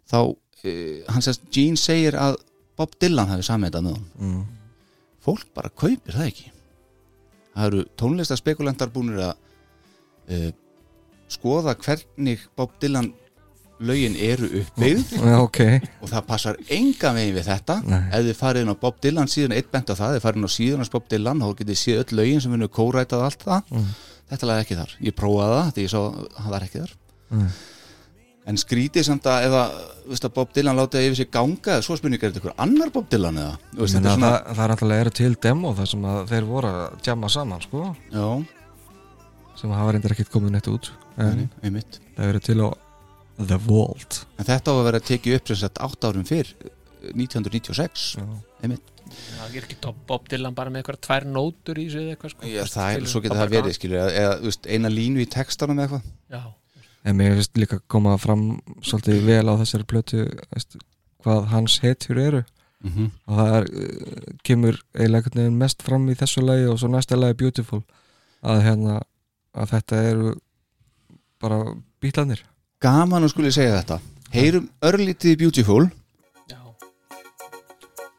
þá uh, hann sérst, Gene segir að Bob Dylan hafi samið þetta með hann Mm. fólk bara kaupir það ekki það eru tónlistaspekulantar búinir að uh, skoða hvernig Bob Dylan lögin eru uppbyggð já, ok og það passar enga megin við þetta Nei. ef þið farið inn á Bob Dylan síðan eitt bent á það, þið farið inn á síðan Bob Dylan þá getið séð öll lögin sem hennu kórætað allt það Mm. þetta lag er ekki þar, ég prófaði það því ég sá að það er ekki þar Mm. en skrítið samt að ef að, veist að Bob Dylan látið yfir sig ganga eða svo spurningar er þetta ykkur annar Bob Dylan eða Þú veist, þetta Menna, er svona... svona, það, það er alltaf eru til demo þar sem að þeir voru að jamma saman sko, já, sem hafa reyndar ekkert komið neitt út en einmitt það eru til á The Vault en þetta á að vera að tekið upp sem sagt 8 árum fyrr 1996 Já. einmitt, það er ekki topp Bob Dylan bara með eitthvað tvær nótur í sig eða eitthvað sko. já, það er, Skilur, svo getur bara það verið skilur, eða, eða þú veist, eina línu í textanum eða eitthvað já, en mér finnst líka að koma fram svolítið vel á þessari plötu veist, hvað hans hetjur eru mm -hmm. og það er, uh, kemur eiginlega einhvern veginn mest fram í þessu lagi og svo næsta lagi Beautiful að, hérna, að þetta eru bara bítlanir gaman að skuli segja þetta heyrum örlítið Beautiful já.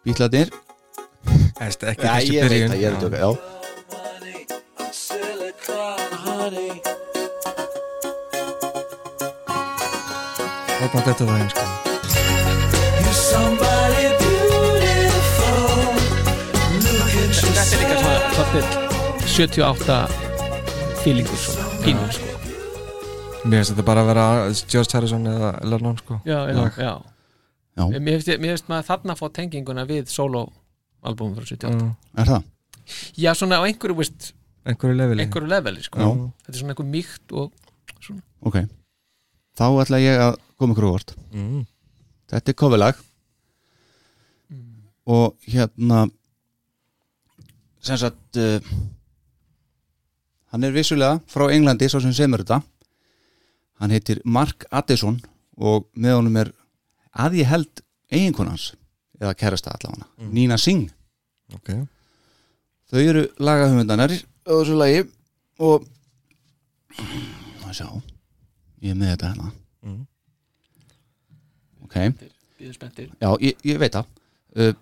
bítlarnir Æst, ekki Já, þessi ég veit byrjun það, ég er að tjóka, já Þarna þetta það eins sko. þetta er líka svona svolítið 78 feelingur svona, pínum sko Mér finnst þetta bara að vera George Harrison eða Lennon sko já, já, Lag. já. Eh, Já. Mér, finnst, ég- mér finnst maður þarna að fá tenginguna við solo albúmum frá 78 Mm, er það? já, svona á einhverju, veist, Einhverju leveli einhverju leveli sko. Já. þetta er svona einhver mýkt og ok þá ætla ég að koma ykkur á vort mm. þetta er kofilag Mm. og hérna sem sagt uh, hann er vissulega frá Englandi svo sem semur þetta hann heitir Mark Addison og með honum er að ég held eiginkonans eða kærasta allavega hana, Nina Singh Ok þau eru lagahöfundanar á þessu lagi og að sjá ég er með þetta hérna Mm. ok, býður spenntir já ég, ég veit það uh,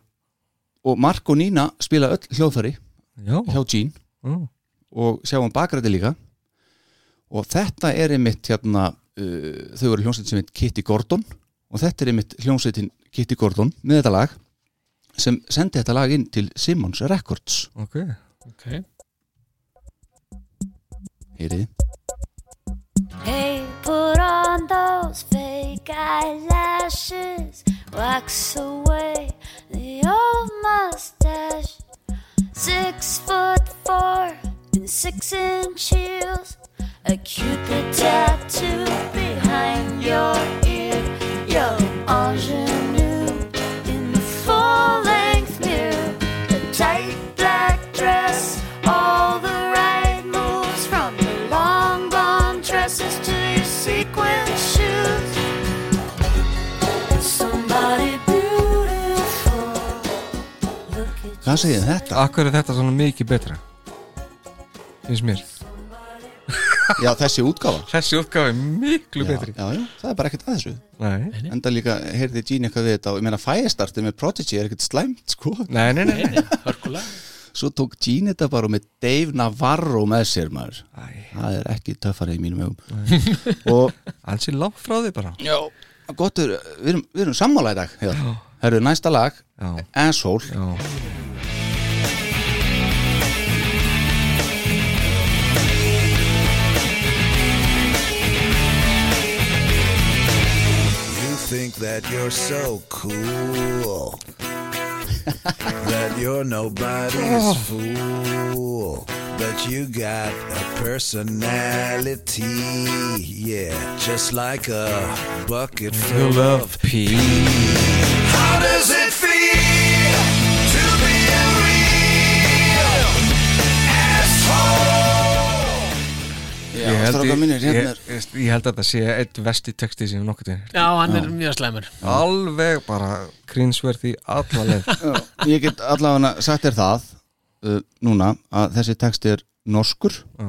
og Mark og Nína spila öll hljóðfæri Já hjá Jean mm. og sjáum bakræti líka og þetta er einmitt hérna uh, þau eru hljómsveit sem heit Kitty Gordon og þetta er einmitt hljómsveitin Kitty Gordon með þetta lag sem sendi þetta lag inn til Simmons Records Ok okay. Heyriði Hey, put on those fake eyelashes. Wax away the old mustache. Six foot four and six inch heels. A cupid tattoo behind your ear. Yo, ingenue in the full length mirror. A tight black dress. All the right moves from your long blonde dresses to your sequin shoes. Somebody beautiful. Look at Hvað segir um þetta? Akkur er þetta svona mikið betra Finnst mér Já, þessi útgáfa Þessi útgáfi er miklu já, betri já, já, það er bara ekkert að þessu Nei, Enda líka, heyrði Gene eitthvað við þetta og ég meina fæðistartið með Prodigy er ekkert slæmt, sko nei, nei, nei, nei. hörkulega Svo tók Gene þetta bara með Dave Navarro með sér, maður Æ, Það er ekki töffari í mínum augum Og Alls er langt frá því bara Já, gott, er- við erum, við erum sammála í dag Já, herru, næsta lag Já. Asshole Já, You think that you're so cool. that you're nobody's fool. But you got a personality. Yeah, just like a bucket full of pí How does it feel to be a real asshole? Já, stráka mínir, ég, hérna er ég, ég held að þetta sé eitt vesti texti sem nokkuð er Já, hann er mjög slæmur Alveg bara krinsverði alla leið Já, Ég get allavega sagt þér það uh, núna að þessi texti er norskur Já.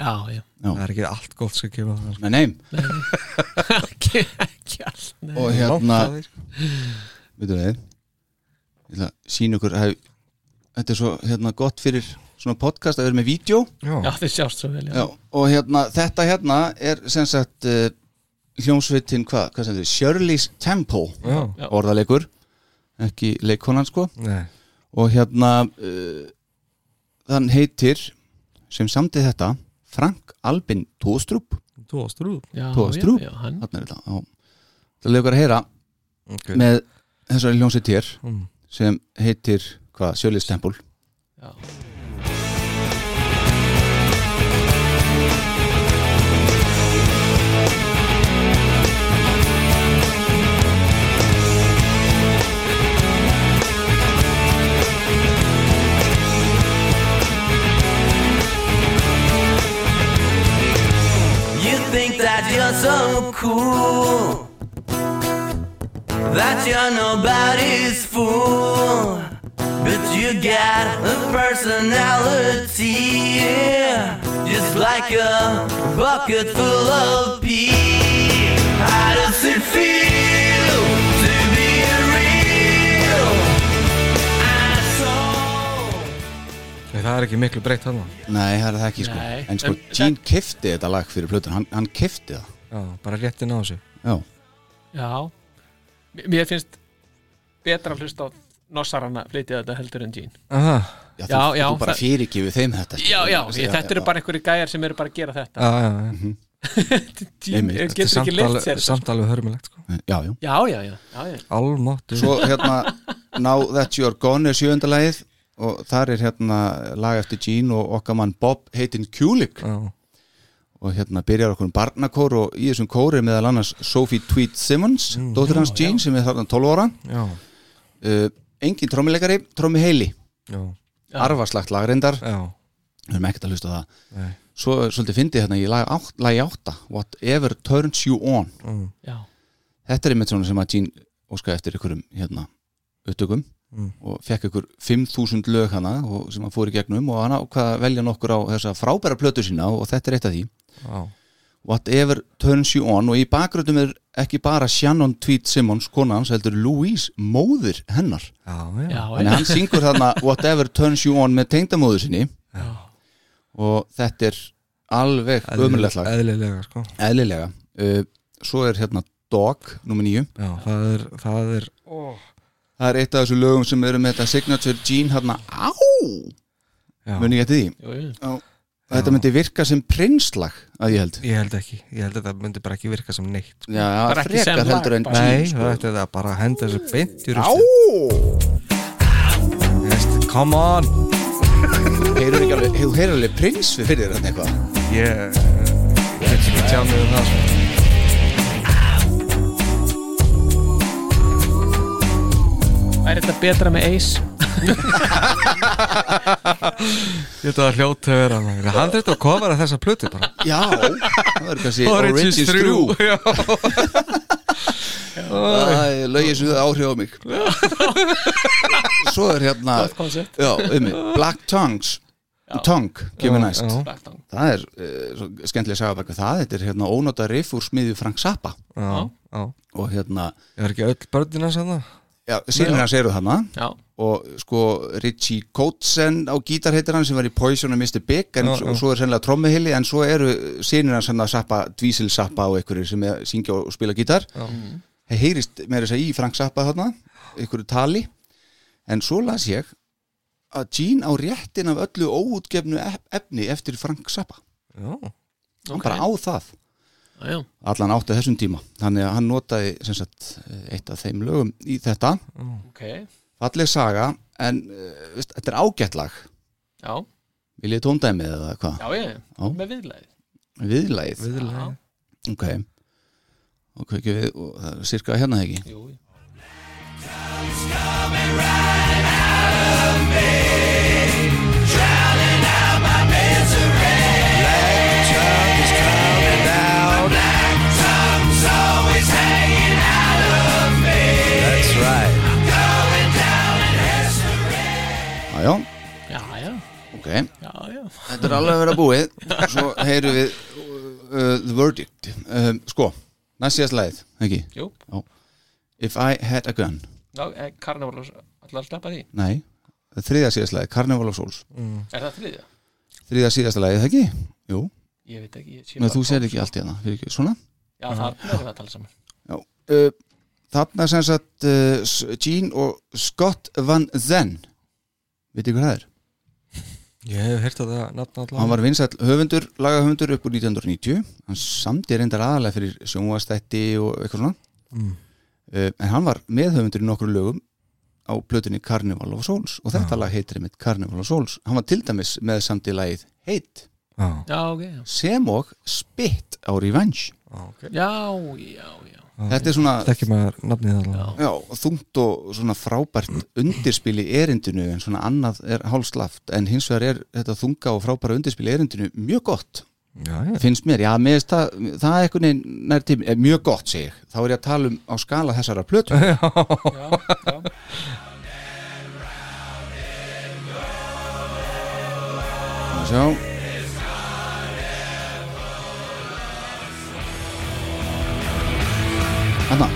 Já, já Það er ekki allt gott sem kemur að það sko. með neym Ekki, ekki allt nei. og Langt hérna, frá því, sko. veitum við ég ætla að sína ykkur hef, þetta er svo hérna, gott fyrir svona podcast að vera með vídeo Já, Já, þið sjást svo vel já. Já, og hérna, þetta hérna er sem sagt uh, hljómsveitin hvað, hvað sem þetta, Shirley's Temple já, Já. orðalegur ekki leikkonan sko nei og hérna uh, þann heitir sem samtið þetta Frank Albin Tóstrup Þú varst rúð Já, Tóa já, Strúp. já, hann þarna er þetta á það leikur að heyra okay. með þessari hljómsveit hér Mm. sem heitir hvað, Sjölis Tempul já. You think that you're so cool. That you're nobody's fool. But you got a personality. yeah. Just like a bucket full of pee. How does it feel to be a real asshole? Nei, Það er ekki miklu breytt hann Nei, það er það ekki sko Nei. En sko, En- Gene kefti þetta lag fyrir plötun Hann, hann kefti það Já, bara réttin á þessu Já, Já, M- mér finnst betra að hlusta á Nossarana flytja þetta heldur en Jean Aha, já, þú, Já, já, þú bara það- fyrirgifir þeim þetta sko. Já, já, ég, þetta eru já. bara einhverju gæjar sem eru bara að gera þetta já, já, já. Jean einmitt, er- Þetta er getur samt ekki leitt alveg- sér þetta. Samt alveg hörmulegt sko. Já, já Já, já, já, já, já. Almáttu Svo hérna Now That You're Gone er sjöundalagið og þar er hérna lag eftir Gene og okkar mann Bob heitinn Kulik Já, og hérna byrjar okkur um barnakór og í þessum kóri meðal annars Sophie Tweed Simmons dóttir hans Gene sem er þarna 12 ára já, uh, engin trommilegari, trommi heili já, arfaslagt lagrindar, já við erum ekkert að hlusta á það Nei. svo er svolítið fyndið hérna í lag átt- lagi átta Whatever Turns You On Mm. já. þetta er einmitt svona sem að Gene óskaði eftir ykkurum hérna upptökum Mm. og fekk ykkur 5000 lög hana og, sem hann fór í gegnum og hann ákvaða að velja nokkur á þessa frábæra plötu sína og þetta er eitt af því Já, Whatever Turns You On og í bakgröndum er ekki bara Shannon Tweed Simmons kona hans heldur Louise móðir hennar já, já, já, en hann syngur þarna Whatever Turns You On með tengdamóður sinni Já. og þetta er alveg Eðlilega- ömurlegt lag, Eðlilega, sko eðlilega uh, svo er hérna Dog, nummer 9 Já, það er, það er Það er eitt af þessu lögum sem eru með þetta signature gene hérna á, já, muni ég eftir því Jú, jú. þetta myndi virka sem prinslag að ég held Ég held ekki, ég held að það myndi bara ekki virka sem neitt sko. Já, Bara ekki sem frekar lag, heldur en bara. Nei, sko. það ætti það bara að henda þessu beint í Á, rústu Come on heyrur ekki alveg, þú heyrur alveg prins við fyrir þetta eitthvað Ég ég get ekki tjá mig um það sko. Er þetta betra með Ace? Ég held að það hljóti að vera maður. Hann þurfti að kofara þessa plötu bara Já, það verður kannski Orange is true Já. Það lögir sem það áhrif á mig Svo er hérna concept. Já, um mig Black Tongues Tongue, kemur næst Já. Blackdown Það er eh, svo skemmtilega að segja baka það Þetta er hérna ónóta riff úr smiðju Frank Zappa Já, já. og hérna Ég var ekki öll börnin hans að Já, sínir hans eru þarna Já, og sko Richie Coatzen á gítar heitir hann sem var í Poison og Mr. Big en, Já, s- já. og svo er sennilega trommihili en svo eru sínir hans hérna, hann að sappa, dvísil sappa og einhverjir sem er, syngja og spila gítar það heyrist með þess að í Frank Zappa þarna einhverju tali en svo las ég að Gene á réttin af öllu óútgefnu ef- efni eftir Frank Zappa Já, hann bara á það já, já allan átti þessum tíma þannig að hann notaði sem sagt, eitt af þeim lögum í þetta Ok, falleg saga en uh, veist, þetta er ágætt lag já, viljið tóndæmið eða hvað já ég Með viðlæði viðlæð viðlega ok og kveikjum við og það er cirka hérna eða ekki Jú, jú. jájá já, já, ok já, já þetta er alveg að vera búið svo heyrum við uh, the verdict um, sko næst síðast lagið ekki Jú, if I had a gun já, eh, Carnival Allar að sleppa því nei það er þriðja síðast lagið Carnival of Souls Er það þriðja? þriðja síðasta lagið ekki jú Ég veit ekki, ég sé en bara- þú sér ekki allt hérna fyrir ekki svona Já, það er það að tala saman uh, þarna sem sagt uh, S- Gene og Scott Van Zen veitir hvað það er? Ég hef heyrt að það nafna allan Hann var vinsæll höfundur, lagahöfundur upp úr 1990 hann samdi reyndar aðalega fyrir sjónvastætti og eitthvað svona Mm. uh, en hann var meðhöfundur í nokkru lögum á plötunni Carnival of Souls og þetta lag heitir einmitt Carnival of Souls hann var til dæmis með samdi lagið Hate Já, Já, ok, já sem og Spit á Revenge já, ok Já, já, já Ah, þetta er svona Þekki maður nafnið allan Já, þungt og svona frábært undirspil í erindinu en svona annað er hálslaft en hins vegar er þetta þunga og frábæra undirspil í erindinu mjög gott, Já, já, finnst mér, já, mér finnst það, það er einhvern veginn nær tími, er mjög gott segir, þá er ég að tala um á skala þessara plötu Að sjá Hanna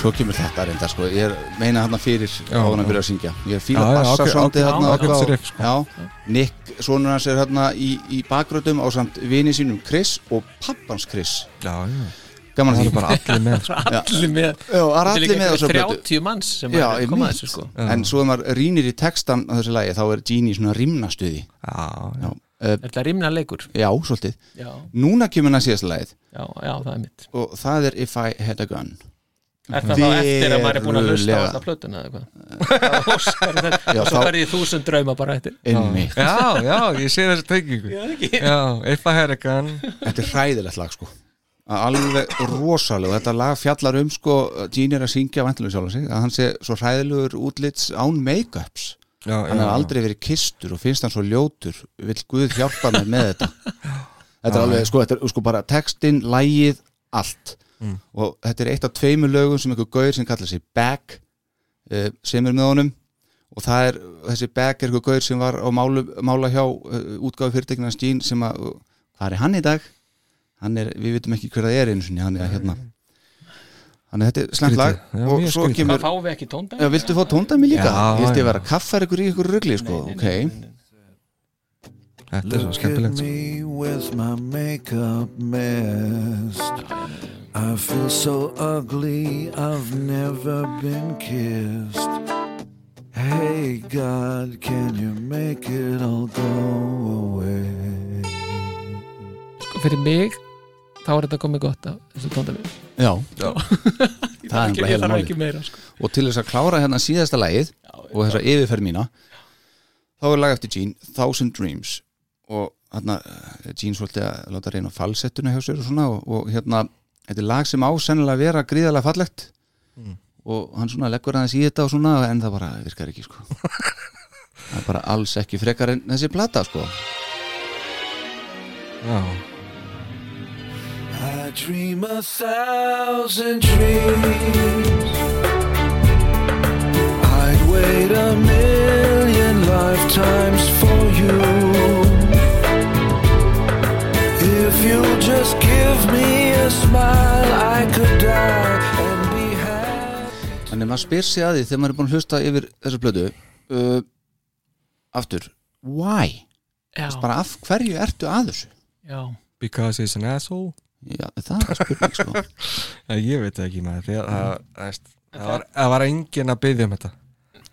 Svo kemur þetta reyndar sko Ég er meina hann fyrir á hann að byrja að syngja Ég fíla Já, já, bassa ákveð- sándi ákveð- hérna ákveðin þrif, sko. Já, Nick, sonur hans er hérna í, í bakröðum á samt vini sínum Chris og pappans Chris já, já. Gaman að Það því er bara allir með sko. Allir með Já, það er allir með á þessu plötu 30 manns sem Já, er að koma að einmitt. þessu sko En svo ef maður rýnir í textan á þessu lagi þá er Gini í svona rimnastuði Já, já, Já, uh, Er það rimna leikur? já svolítið Já, Núna kemur hann að síðast lagið já, já, það er mitt og það er If I Had A Gun Er það þá eftir að maður er búin að hlusta á Verulega. þetta plötuna eða hvað? Óskar þetta Já, Og svo þá- verði ég þúsund drauma bara eftir Einmitt, já, já, ég sé þessi tengingu Já, if I had a gun þetta er hræðilegt lag sko alveg rosalega, þetta lag fjallar um sko, Gini er að syngja vantilega sjálf sig, að hann sé svo hræðilegur útlits án make-ups Já, já, hann já. hefur aldrei verið kistur og finnst hann svo ljótur vill Guð hjálpa mér með þetta þetta er alveg, sko, þetta er sko bara textin, lægið, allt Mm. og þetta er eitt af tveimur lögum sem einhver gaur sem kallar sig Back eh, sem er með honum og það er, þessi Back er einhver gaur sem var á málu, mála hjá uh, útgáfu fyrirtekna Stín sem að, uh, hvað er hann í dag? hann er, við vitum ekki hver það er einu sinni, hann er hérna þannig að þetta er slemt Skrítið. lag Já, og mjög svo skrítið. kemur Það fáum við ekki tóndæmi Já, viltu fá tóndæmi líka? Já, Ég vilti já. vera kaffar ykkur í ykkur rugli, sko, ok Þetta er svo Look at skemmtilegt sko. me with my makeup messed. I feel so ugly, I've never been kissed. Hey God, can you make it all go away? Sko fyrir mig þá er þetta komið gott af þessu tóndami Já, það er bara Ég heila þarf máli ekki meira sko. Og til þess að klára hérna síðasta lagið og þessa yfirferð mína þá er lag eftir Gene, Thousand Dreams og hérna eh, Gene svolítið að láta reyna á falsettuna hjá sér og svona og, og hérna, þetta er lag sem á sennilega að vera gríðalega fallegt Mm. og hann svona leggur aðeins í þetta og svona en það bara virkar ekki sko það er bara alls ekki frekar en þessi plata sko Já, I dream a thousand dreams. I'd wait a million lifetimes for you. If you just give me a smile, I could die and be happy. Þannig maður spyr sig að því þegar maður er búin að hlusta yfir þessu blödu uh, aftur, why? Já, Bara af hverju ertu að þessu? já, because he's an asshole Já, það er spurning sko Já, ég veit það ekki maður því Mm. að það, það, veist, það, var, það var engin að byggja um þetta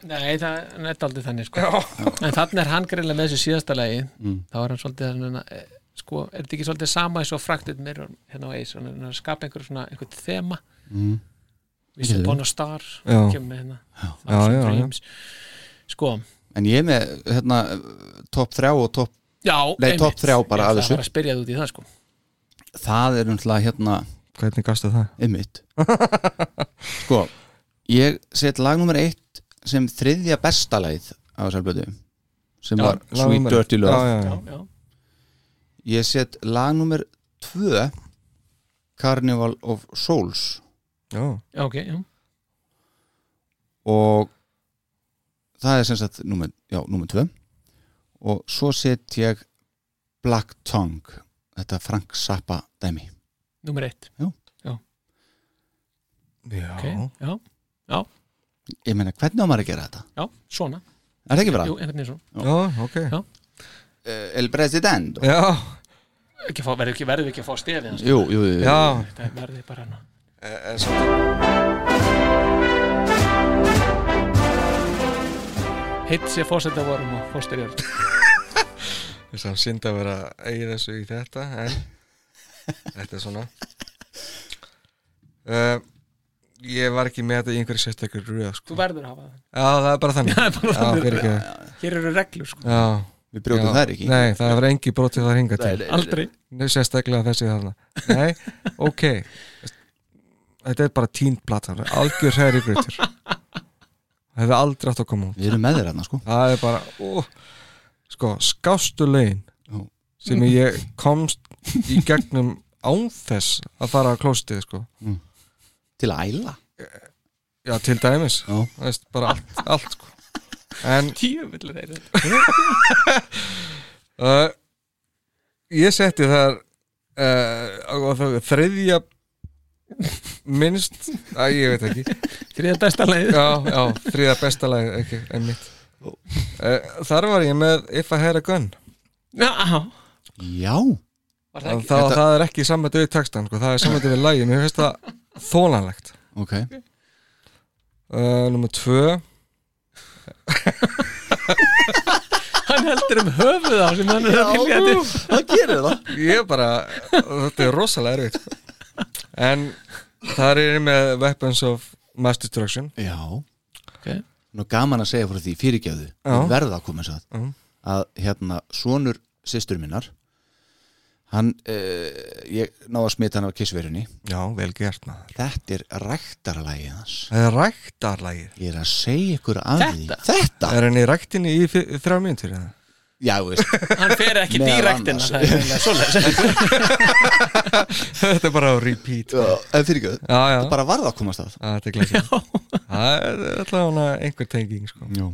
nei, það er neitt aldrei þannig sko. en þannig er hann greinlega með þessu síðasta lagi þá er hann svolítið hann, sko, er þetta ekki svolítið sama eins og fraktið mér hérna á eis, hann er að skapa einhver svona einhvern þema mm. Vistu Bono Star Já. kemur með hérna Já, já, já. Dreams. sko, En ég er með hérna, top 3 og top já, Nei, topp þrjá bara Ég af ætlaði þessu. bara að spyrja þú út í það sko það er umtlað hérna Hvernig gastu það? ymmit Sko, ég set lag nummer 1 sem þriðja besta lagið á þessar blödu sem var Lag Sweet númer- Dirty Love Já, já, já, já, já, Ég set lag nummer 2 Carnival of Souls já. já, ok, já, og það er sem sagt númer, já, númer 2 og svo set ég Black Tongue þetta Frank Zappa dæmi nummer eitt já. ok, já, ég meina hvernig á maður að gera þetta? já, svona Er það ekki bara? Jú, einhvern veginn svona já ok Já. Eh, El President Já, Ekki fá- Verðum ekki- verðum við ekki að fá stefið hans Jú, jú, jú, já, Þetta verði bara hérna. hann Eh, Hitt sé fósetta vorum og fósterjör þess að synd að vera að eigi þessu í þetta en þetta er svona uh, ég var ekki með þetta í einhverju sérstakur röð sko. Þú verður að hafa það já það er bara þannig já, bara þannig. fyrir ekki Hér eru reglur sko já, við brjóðum já. það ekki nei það var engi brotið þar hinga til nei. Aldrei Nei, sérstaklega þessi þarna nei, ok þetta er bara tínt plata það er algjör hæri grötur það hefði aldrei átt að koma út Við erum með þér hérna sko það er bara ó, sko, skástu lögin Já. sem ég komst í gegnum án þess að fara á klóstið sko. Til að æla já, til dæmis Já. Það veist, bara allt, allt sko. en Tíu villir þeir uh, ég setti þar uh, á það- þriðja minnst að ég veit ekki Þriða besta leið já, já, þriða besta lag ekki, einmitt uh, þar var ég með If I Had a Gun Já, á, Já, var það það, ekki það, það er ekki samvættu við textan sko, það er samvættu við lagi, mér finnst það þólanlegt ok uh, nummer tvö Hann heldur um höfuð á sem hann er að vilja þetta það gerir það ég bara, þetta er rosalega erfitt sko. en þar er ég með Weapons of Mass Destruction Já Ok. Nú gaman að segja frá því fyrirgjöðu Já. Verða að koma eins og það Já. Að hérna sonur systur minnar Hann, uh, ég náði að smita hann af kissverjunni já, vel gert maður Þetta er ræktaralagið hans það er ræktarlagið Ég er að segja ykkur að Þetta? því Þetta? er henni í ræktinni í fi- í þrjá mínútur eða? Já, veist Hann fer ekki Meðal direktina annars. Það er eiginlega svoleiðis. þetta er bara á repeat já, En fyrirgjöðu, já, bara varða að komast að Já, þetta er glæsilegt það er allavega einhver tenging sko. Já,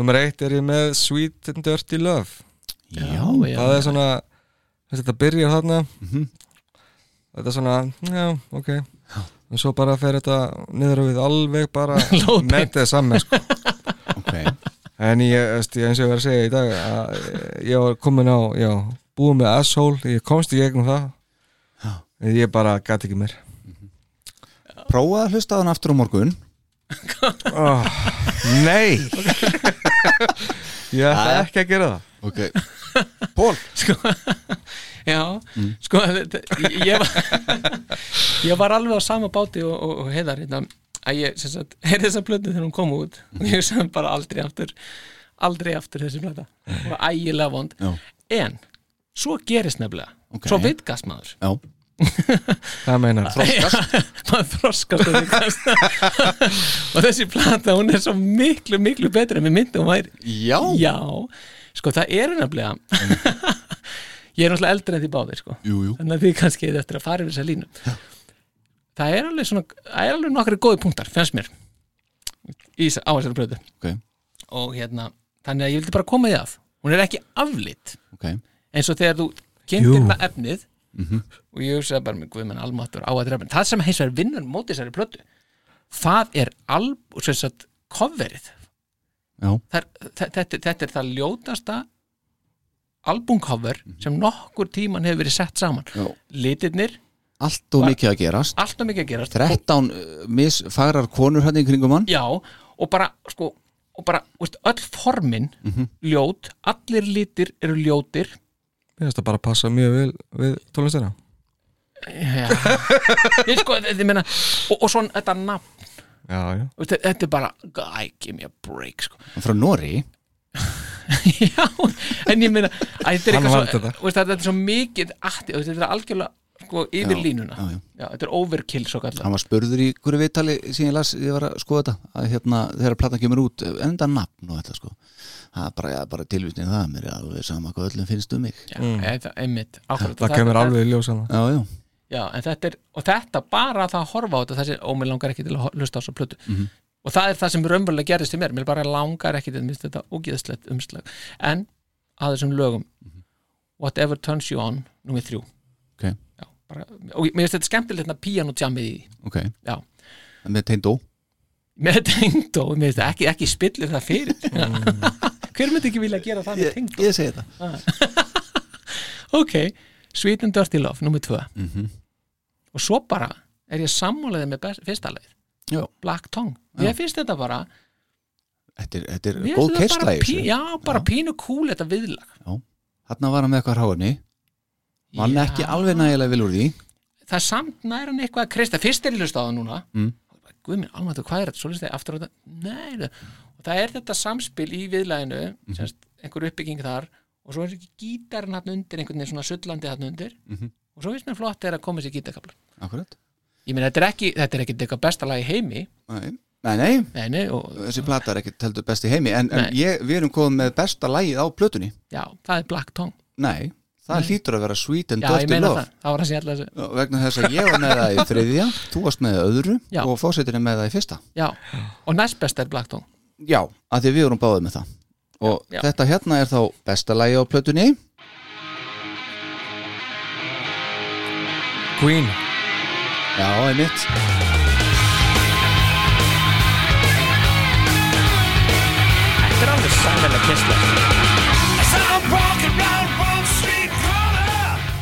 Númer eitt er ég með Sweet and Dirty Love já, Já, Það er svona Þetta byrjar þarna Þetta er svona, Mhm. já, ok Og svo bara fer þetta niður á við alveg bara Lóðbeint. Mettið saman sko. ok En ég, veist, ég eins og ég var að segja í dag að Ég var komin á, já Búið með asshole, ég komst í gegnum það Ég bara gat ekki mér prófa að hlusta á hann aftur á morgun oh, Nei Ég ætla ekki að gera það Ok Pól sko, já, Mm. sko þetta- ég- ég var ég var alveg á sama báti og, og, og heiðar hérna, að ég sem sagt, heyrði þessa plötu þegar hún kom út Mm. og ég sem bara aldrei aftur aldrei aftur þessi plöta og ægilega vond Já. en, svo gerist nefnilega Ok. svo vitgast maður Já Það meinar maður þroskast og vitgast og þessi plata hún er svo miklu, miklu betri en við myndum hún væri Já Já, sko það er nefnilega Ég er náttúrulega eldri en því báðir sko. Jú, jú Þannig að því kannski eigi eftir að fara yfir þessa línu Það er alveg svona Það er alveg nokkri góði punktar, fennst mér í, þessa- á þessari bröðu Ok, og hérna, þannig að ég vildi bara koma því að Hún er ekki aflitt ok eins og þegar þú kynntir það efnið og ég hugsaði bara með guðmenn almáttur á að drefn það sem hins vegar vinnur móti þessari plötu það er alb, sem sagt, coverið Já þar, þe- þetta, þetta er það ljótasta albúmcover sem nokkur tíman hefur verið sett saman Já. litirnir, Allt og mikið að gerast allt og mikið að gerast 13 uh, misfagrar konur hann í kringum hann já, og bara sko, og bara, veist, öll formin Mhm. ljót, allir litir eru ljótir Mér finnst það bara að passa mjög vel við tónlistina já ég sko, ég meina, og, og svona þetta nafn, Já, já veist, þetta er bara I give me a break sko. Frá Nóri já, en ég meina æ, þetta er Hann eitthvað valdi svo, þetta. veist, þetta er svo mikið atti, veist, þetta er algjörlega sko, yfir línuna já, já. þetta er overkill svo kallar Hann var spurður í hverju viðtali síðan ég las, ég var að skoða þetta að hérna, þegar platan kemur út, en þetta nafn og þetta sko, það er bara, ja, bara tilvísnið það, mér er alveg sama hvað öllum finnst um mig Já, þetta, einmitt, akkurat, Mm. Það kemur alveg í ljós hérna. Já, hana já, já, en þetta er, og þetta bara það að horfa á þetta þessi, og mér langar ekki til að ho- hlusta á þessu plötu og það er það sem raunverulega gerist í mér mér bara langar ekki til mér finnst þetta ógeðslegt umslag en að þessum lögum Whatever Turns You On númið þrjú Ok. já, bara, og mér finnst þetta skemmtilegt hérna píanotjamið í því. ok Já. Með teindó með tengd og mér finnst þetta ekki, ekki spillir það fyrir hver myndi ekki vilja gera það með tengd Mm. Ég segi það ok, Sweet and Dirty Love nummer 2 Mhm. og svo bara er ég sammálaðið með best, fyrsta leið Já. Black Tongue, Já. ég finnst þetta bara Þetta er, þetta mér er finnst góð þetta keisla bara í pí, þessu já, bara pínu kúl þetta viðlag Þarna var hann með eitthvað hráinni Vann Já. ekki alveg nægilega vel úr því það er samt nær hann eitthvað að kreista fyrst er ég hlust á það núna Mm. guð minn, alveg hvað er þetta, svo listið aftur á þetta nei, það- og það er þetta samspil í viðlæginu, Mhm. mm einhver uppbygging þar og svo er þessi gítarinn hann undir einhvern veginn svona sullandi hann undir Mhm. og svo finnst mér flott þegar að koma þessi gítarkabla Akkurat ég meina, þetta er ekki, þetta er ekki eitthvað besta lag í heimi Nei, nei, nei nei, nei, og þessi plata er ekki teldur besti heimi en, en Nei. ég, við erum komið með besta lagið á plötunni Já, það er Black Tongue Nei, það hlýtur að vera Sweet and Já, ég Dirty meina Love það, það var það sem ég ætla að segja Já, vegna þess að ég var með það í þriðja þú varst með það öðru Já. og fórsetin er með það í fyrsta Já, og næst best er Black Tongue já, að því við vorum báðið með það og Já, já. þetta hérna er þá besta lagi á plötunni Queen já, einmitt Þetta er alveg sæmilega kistla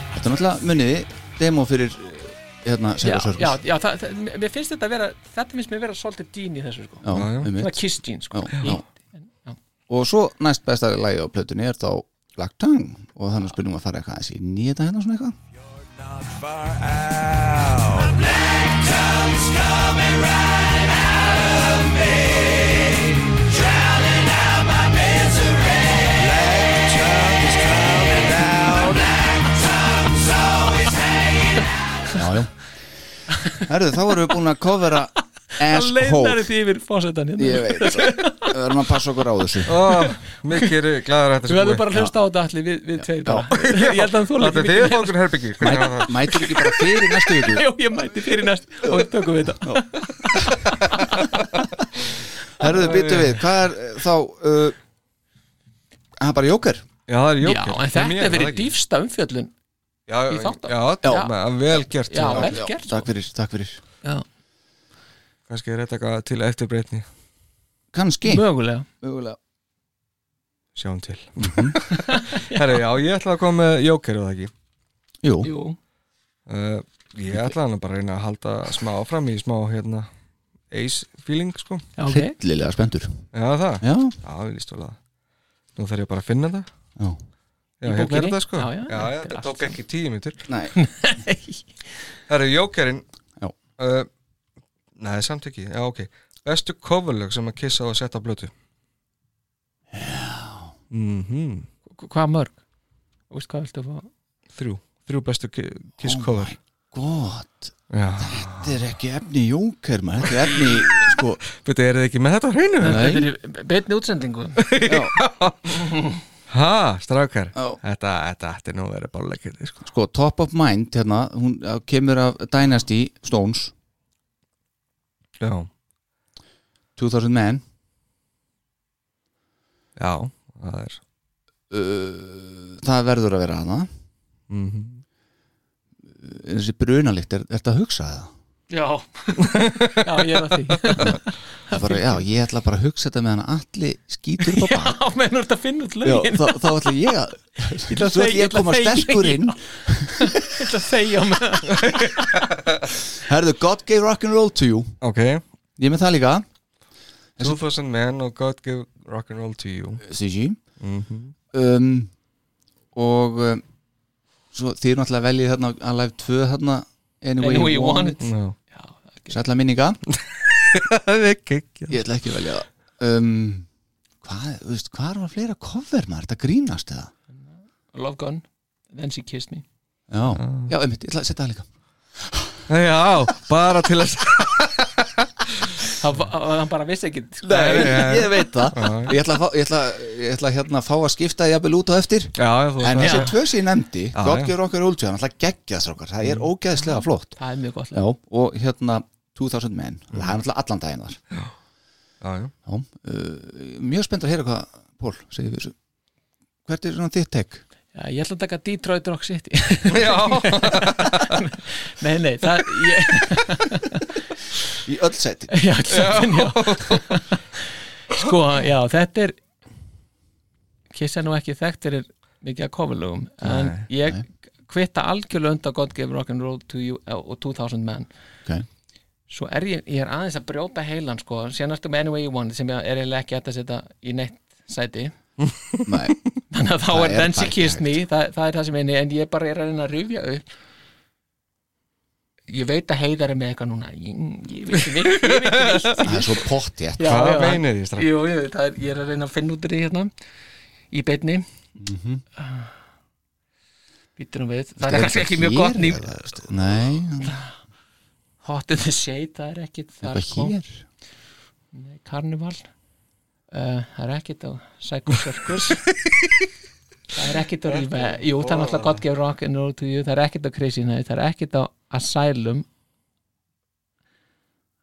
þetta er náttúrulega muniði demo fyrir eh, hérna, Já, Sega Circus já, já það, það, mér finnst þetta að vera þetta finnst mér vera svolítið dýn í þessu sko Já, Já, já. Svona einmitt kiss jean sko Já, Í- já. já. og svo næst besta lagi á plötunni er þá Black Tongue og þannig spurningum að fara eitthvað aðeins í nýjeta hérna svona eitthvað já, já Herðu, þá erum við búin að covera Það leinar Asshole þetta yfir fórsetan hérna Ég veit, við erum að passa okkur á þessu oh, Mikið er glæður að þetta Við verðum bara búið. að hlusta á þetta allir við, við tveir bara Ég held að þú Þetta er leikur þið er fólkur herbyggi Hvernig var það? Mætur ekki bara fyrir næstu viku Jó, ég mæti fyrir næst og við tökum við þetta Herðu, býtu við, hvað er eh, þá uh, Það er bara jóker Já, það er Já, jókir en þetta er verið dýfsta umfjöllun í þáttum. Já, Já. já, vel gert Já, já. vel Já, gert, Takk fyrir, takk fyrir Já, Kannski er þetta eitthvað til eftirbreytni Kanski mögulega Mögulega. Sjáum til Herri, já, ég ætla að koma með jókir eða ekki Jú, Jú, uh, Ég ætla hann bara að reyna að halda smá áfram í smá hérna ace feeling sko Já, ok. hryllilega spendur Já það, já, já ég líst alveg að það Nú þarf ég bara að finna það já, Já, Í hérna er bókinni? þetta sko Já, já, þetta er þetta allt. tók ekki tíu mítur nei Það eru jókerinn Já. uh, Nei, samt ekki, já ok Bestu coverlög sem að kissa á að setja á blötu Já Mhm. Hva- Hvað mörg? Þú veist hvað viltu að fá? Þrjú, þrjú bestu ki- kiss Oh cover god, Já, þetta er ekki efni jóker maður, þetta er efni sko, betur eru þið ekki með þetta á hreinu? nei, Þetta er betni útsendingu Ha, strákar Já. Þetta, þetta ætti nú að vera báleikir sko. sko top of mind hérna, hún uh, kemur af Dynasty Stones Já, 2000 Men já, það er uh, það verður að vera hana Eh, mm þessi brunalikt, er, ertu að hugsa það? Já Já, ég er að því Það Bara, já, ég ætla bara að hugsa þetta með hana allir skítur upp á bak Á meðan þú ert að finna út Já, lögin þá, þá ætla ég að ætla að Svo ætla þegja- ég að koma ég ætla að sterkur þegja. inn Ég ætla að þegja um á meðan Herðu, God gave rock'n'roll to you Ok, Ég er með það líka 2000 men og God give rock'n'roll to you Sigi mm um, Og um, Svo þið er náttúrulega veljið þarna að hérna live 2 þarna hérna, Anyway, Anyway you want it. Já, Sætla minninga það er ekki Ég ætla ekki að velja það um, Hvað, þú veist, hvað var fleira cover maður? Þetta grínast eða? Love Gun Then she kissed me Já, já, einmitt, ég ætla að setja það líka Já, bara til að Það var- hann bara vissi ekki sko. Nei, ég veit það Já. Ég ætla, að fá, ég ætla, ég ætla hérna að fá að skipta jafnvel út á eftir Já, þú En það þessi tvö sem ég nefndi Já, God já. Gear Rocker Old John, alltaf geggjað strókar Það er ógeðslega flott Það er mjög gott Já, og hérna 2000 Men, það er alltaf allan daginn þar Já, já Já, uh, Mjög spennt að heyra hvað Pól segir við þessu Hvert er svona þitt tek? Já, ég ætla að taka Detroit Rock City Já, Nei, nei, það ég, Í öll seti já, alltaf, já. Sko, já, þetta er Kiss er nú ekki þekkt fyrir mikið að kofurlögum en Nei, ég kvitta algjörlega undan God Gave Rock'n'Roll to You eh, og 2000 Men Ok. Svo er ég, ég er aðeins að brjóta heilan sko, síðan ertu með Anyway You Want It sem ég er eiginlega ekki hægt að setja í neitt sæti Nei, þannig að þá Það er er Then She bara Kissed ekki Me það, það er það sem eini, en ég bara er að reyna að rifja upp ég veit að heiðar er með eitthvað núna ég, ég veit ekki neitt, ég veit ekki neitt það er svo pott ég Já, hvað já. meinið því strafn? Jú, jú, það er, ég er að reyna að finna út úr því hérna í beinni mm -hmm. býtur um við það er kannski ekki mjög gott nýf Nei, Hot in the Shade, það er ekkit það eitthvað hér Nei, Carnival uh, það er ekkit á Psycho Circus það er ekkit á Rífa jú, það er náttúrulega gott gefur rock and roll to you það er ekkit á Crazy Night, það er ekkit á Asylum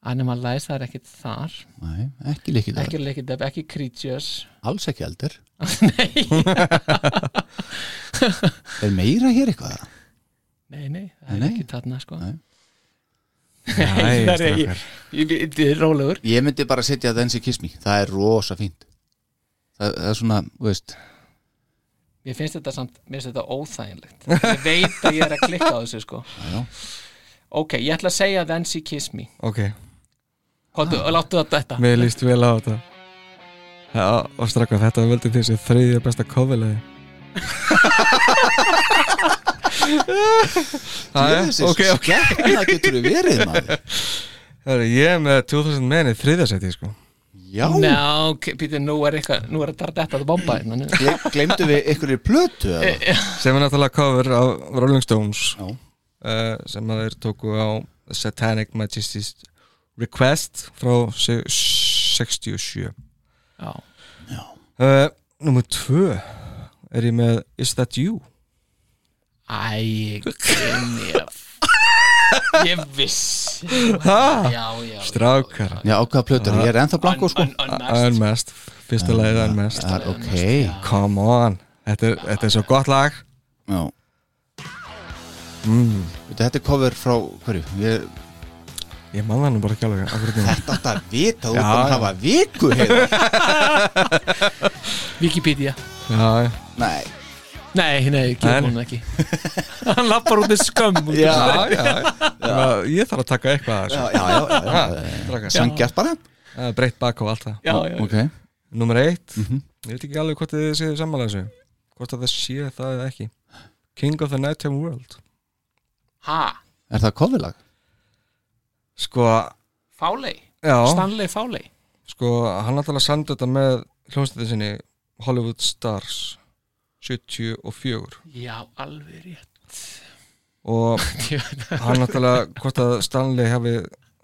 Animal Lies, það er ekkit þar Nei, ekki líkið ekki Lickidab, ekki Creatures Alls ekki eldur nei, Er meira hér eitthvað? nei, nei, það er Nei. ekki þarna sko Nei. Nei, það er ég, strákar ég, ég, ég er rólegur Ég myndi bara setja Then She Kiss Me Það er rosa fínt Það, það er svona, þú veist Mér finnst þetta samt, mér finnst þetta óþæginlegt Ég veit að ég er að klikka á þessu sko já. Ok, ég ætla að segja Then She Kiss Me Ok, Kóttu, ah. Láttu þetta þetta mér líst vel á þetta Já, og strafn, þetta völdi því sem þriðja besta coverlegi Jöfis, ok, ok. skemmna getur við verið maður Það er ég er með 2000 menni þriðja seti sko Já, Ná, ok, býtu, nú er eitthvað, nú er þetta þetta að bomba hérna nú. Gle- gleymdu við einhverju plötu eða? sem er náttúrulega cover af Rolling Stones Já. uh, sem að þeir tóku á Satanic Majesty's Request frá se- 67 Já, uh, Númer 2 er ég með Is That You? æ, gynjaf Ég viss Ha? Já, já Strákar Já, á hvaða plötu er? Ég er ennþá blanko sko Unnast Unmasked, fyrsta lagið Unmasked Það er ok Come on, þetta er, þetta er svo gott lag Já Veitu, Þetta er cover frá hverju? Ég, Ég man það nú bara ekki alveg akkurat núna. þetta átt að vita, þú Já, kannu já. hafa viku heiðar Wikipedia Já, Nei, Nei, nei, En- gefum hún ekki Hann lappar út með skömm út úr Já. þessu. já, já. Þannig að Ég þarf að taka eitthvað að já, þessu. já, já, já, Ha, já. strákar. Sangjart bara Það er Breytt bak og allt það já, já, Ok, Númer eitt, ég veit ekki alveg hvort þið séu sammála þessu Hvort að það sé það eða ekki King of the Nighttime World ha, er það kofilag? Sko, Fálei, já Stanley Fálei Sko, hann náttúrulega samdi þetta með hljómsveitin sinni Hollywood Stars 74 Já, alveg rétt og Ég veit það. hann náttúrulega hvort að Stanley hafi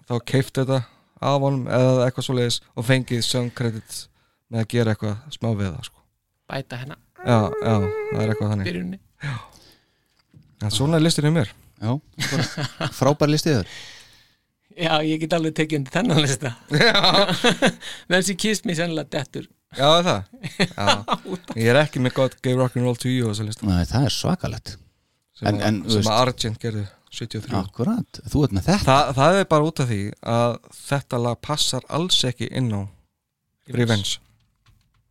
þá keift þetta af honum eða eitthvað svoleiðis og fengið song credits með að gera eitthvað smá við það sko. Bæta hennar Já, já, það er eitthvað þannig byrjunni En svona er listin í mér Já, frábær listiður Já, ég get alveg tekið undir þennan lista Já, Menn sem kýst mér sennilega dettur já er það já. Ég er ekki með gott gay rock'n'roll to you á þessu listin Nei, það er svakalegt sem, En- en, þú sem veist- að Argent gerði 73 Akkurat, þú ert með þetta Þa, það er bara út af því að þetta lag passar alls ekki inn á Revenge,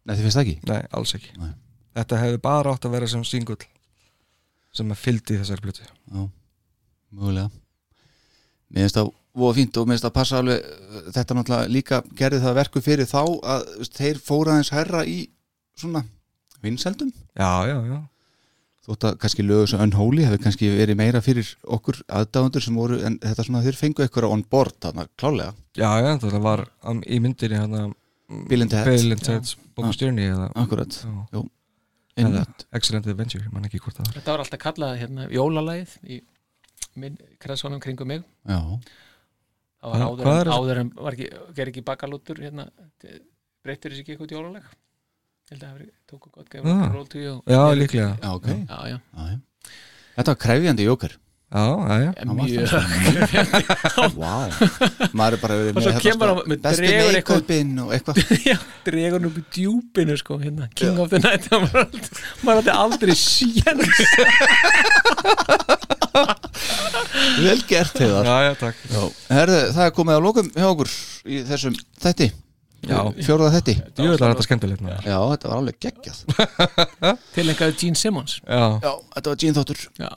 Nei, þið finnst það ekki nei, alls ekki Nei. Þetta hefði bara átt að vera sem singull sem að fylgdi þessari blötu Mögulega Mér finnst það voða fínt og mér finnst það passa alveg eh, Þetta náttúrulega líka gerði það verku fyrir þá að þú veist, þeir fóra aðeins herra í svona vinseldum Já, já, já þótt að kannski lögur sem Unholy hefði kannski verið meira fyrir okkur aðdáðundur sem voru en þetta svona þeir fengu eitthvað on board þarna klálega Já, já, þetta var um, í myndinni hana, Bill and Ted. Bill and Ted's bókstjörni eða Akkurat, já, jú eða Einmitt. Excellent Adventure, ég man ekki hvort það var Þetta var alltaf kallað hérna jólalæð í minn kressónum kringum mig Já, Það var Hva- áður, hvað er en, það? áður en var ekki, ger ekki bakalútur hérna, te- breyttir þessi ekki eitthvað jólaleg Ég held að það hafi tóku gott gefur Ah. roll to you Já, líklega já, ok já. Já, já, já. Þetta var krefjandi jókar Já, já, já Hann var mjög Vá, maður er bara verið Og svo með sko, kemur hann með- Besti dregur eitthvað- make-upinn og eitthvað Já, dregur hann upp í djúpinu sko, hérna, King of the Night hann var aldrei- maður átti aldrei síðan Vel gert hefðar Já, já, takk Herðu, það er komið á lokum hjá okkur í þessum þætti Já. Fjórða þætti Jú, þetta er þetta skemmtilegt maður. Já, þetta var alveg geggjað tilengaði Gene Simmons Já, Já, þetta var Gene Þóttur Já,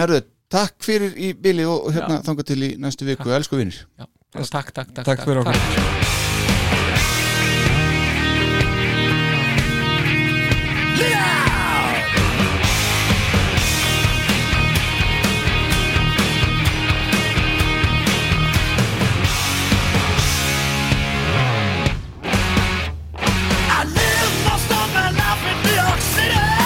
Herðu, takk fyrir í bili og hérna þangað til í næstu viku Elsku vinnir já, takk, takk, takk, Takk fyrir okkur. I lived most of my life in New York City.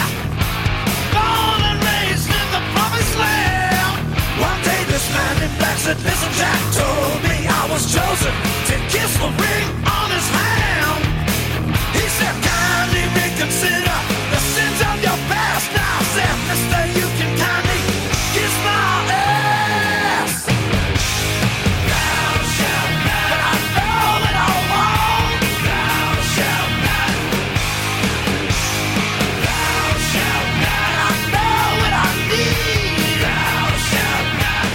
Born and raised in the promised land. One day this man in black said, Listen, Jack told me I was chosen to kiss the ring on his hand. He said, Kindly reconsider the sins of your past. Now I said, Mister, you can kindly kiss my ass. Thou shalt not. But I know that I won't. Thou shalt not. Thou shalt not. I know what I need. Thou shalt not.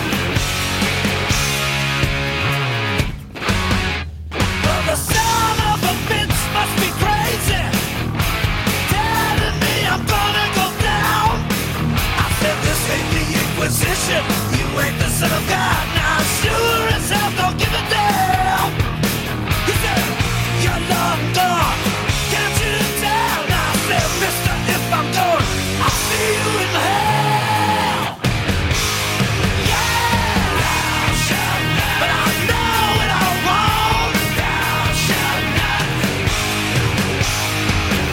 But the sound of a bitch must be crazy. Telling me I'm gonna go down. I said this ain't the Inquisition. You ain't the son of God. Now I sure as hell don't give a damn. He said, You're long gone. Can't you tell? Now I said, Mister, if I'm gone, I'll see you in hell. Yeah, thou shalt not. But I know what I want. Thou shalt not.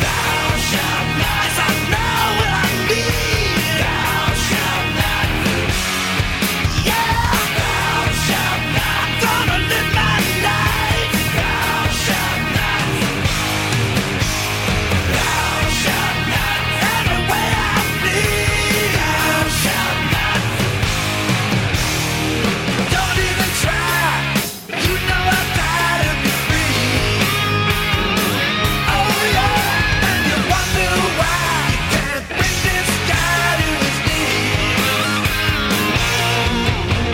Thou shalt not. Yes, I know what I need. Thou shalt not. Yeah, thou shalt not. I'm gonna live my life. Thou shalt not. Thou shalt not. Every way I flee. Thou shalt not. Don't even try. You know I die to be free. Oh yeah, and you wonder why you can't bring this guy to his knees.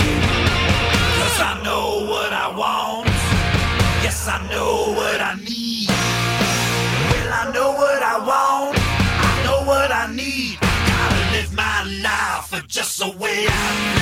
Cause I know what I want. Yes, I know what I need. Well, I know what I want. I know what I need. I so we have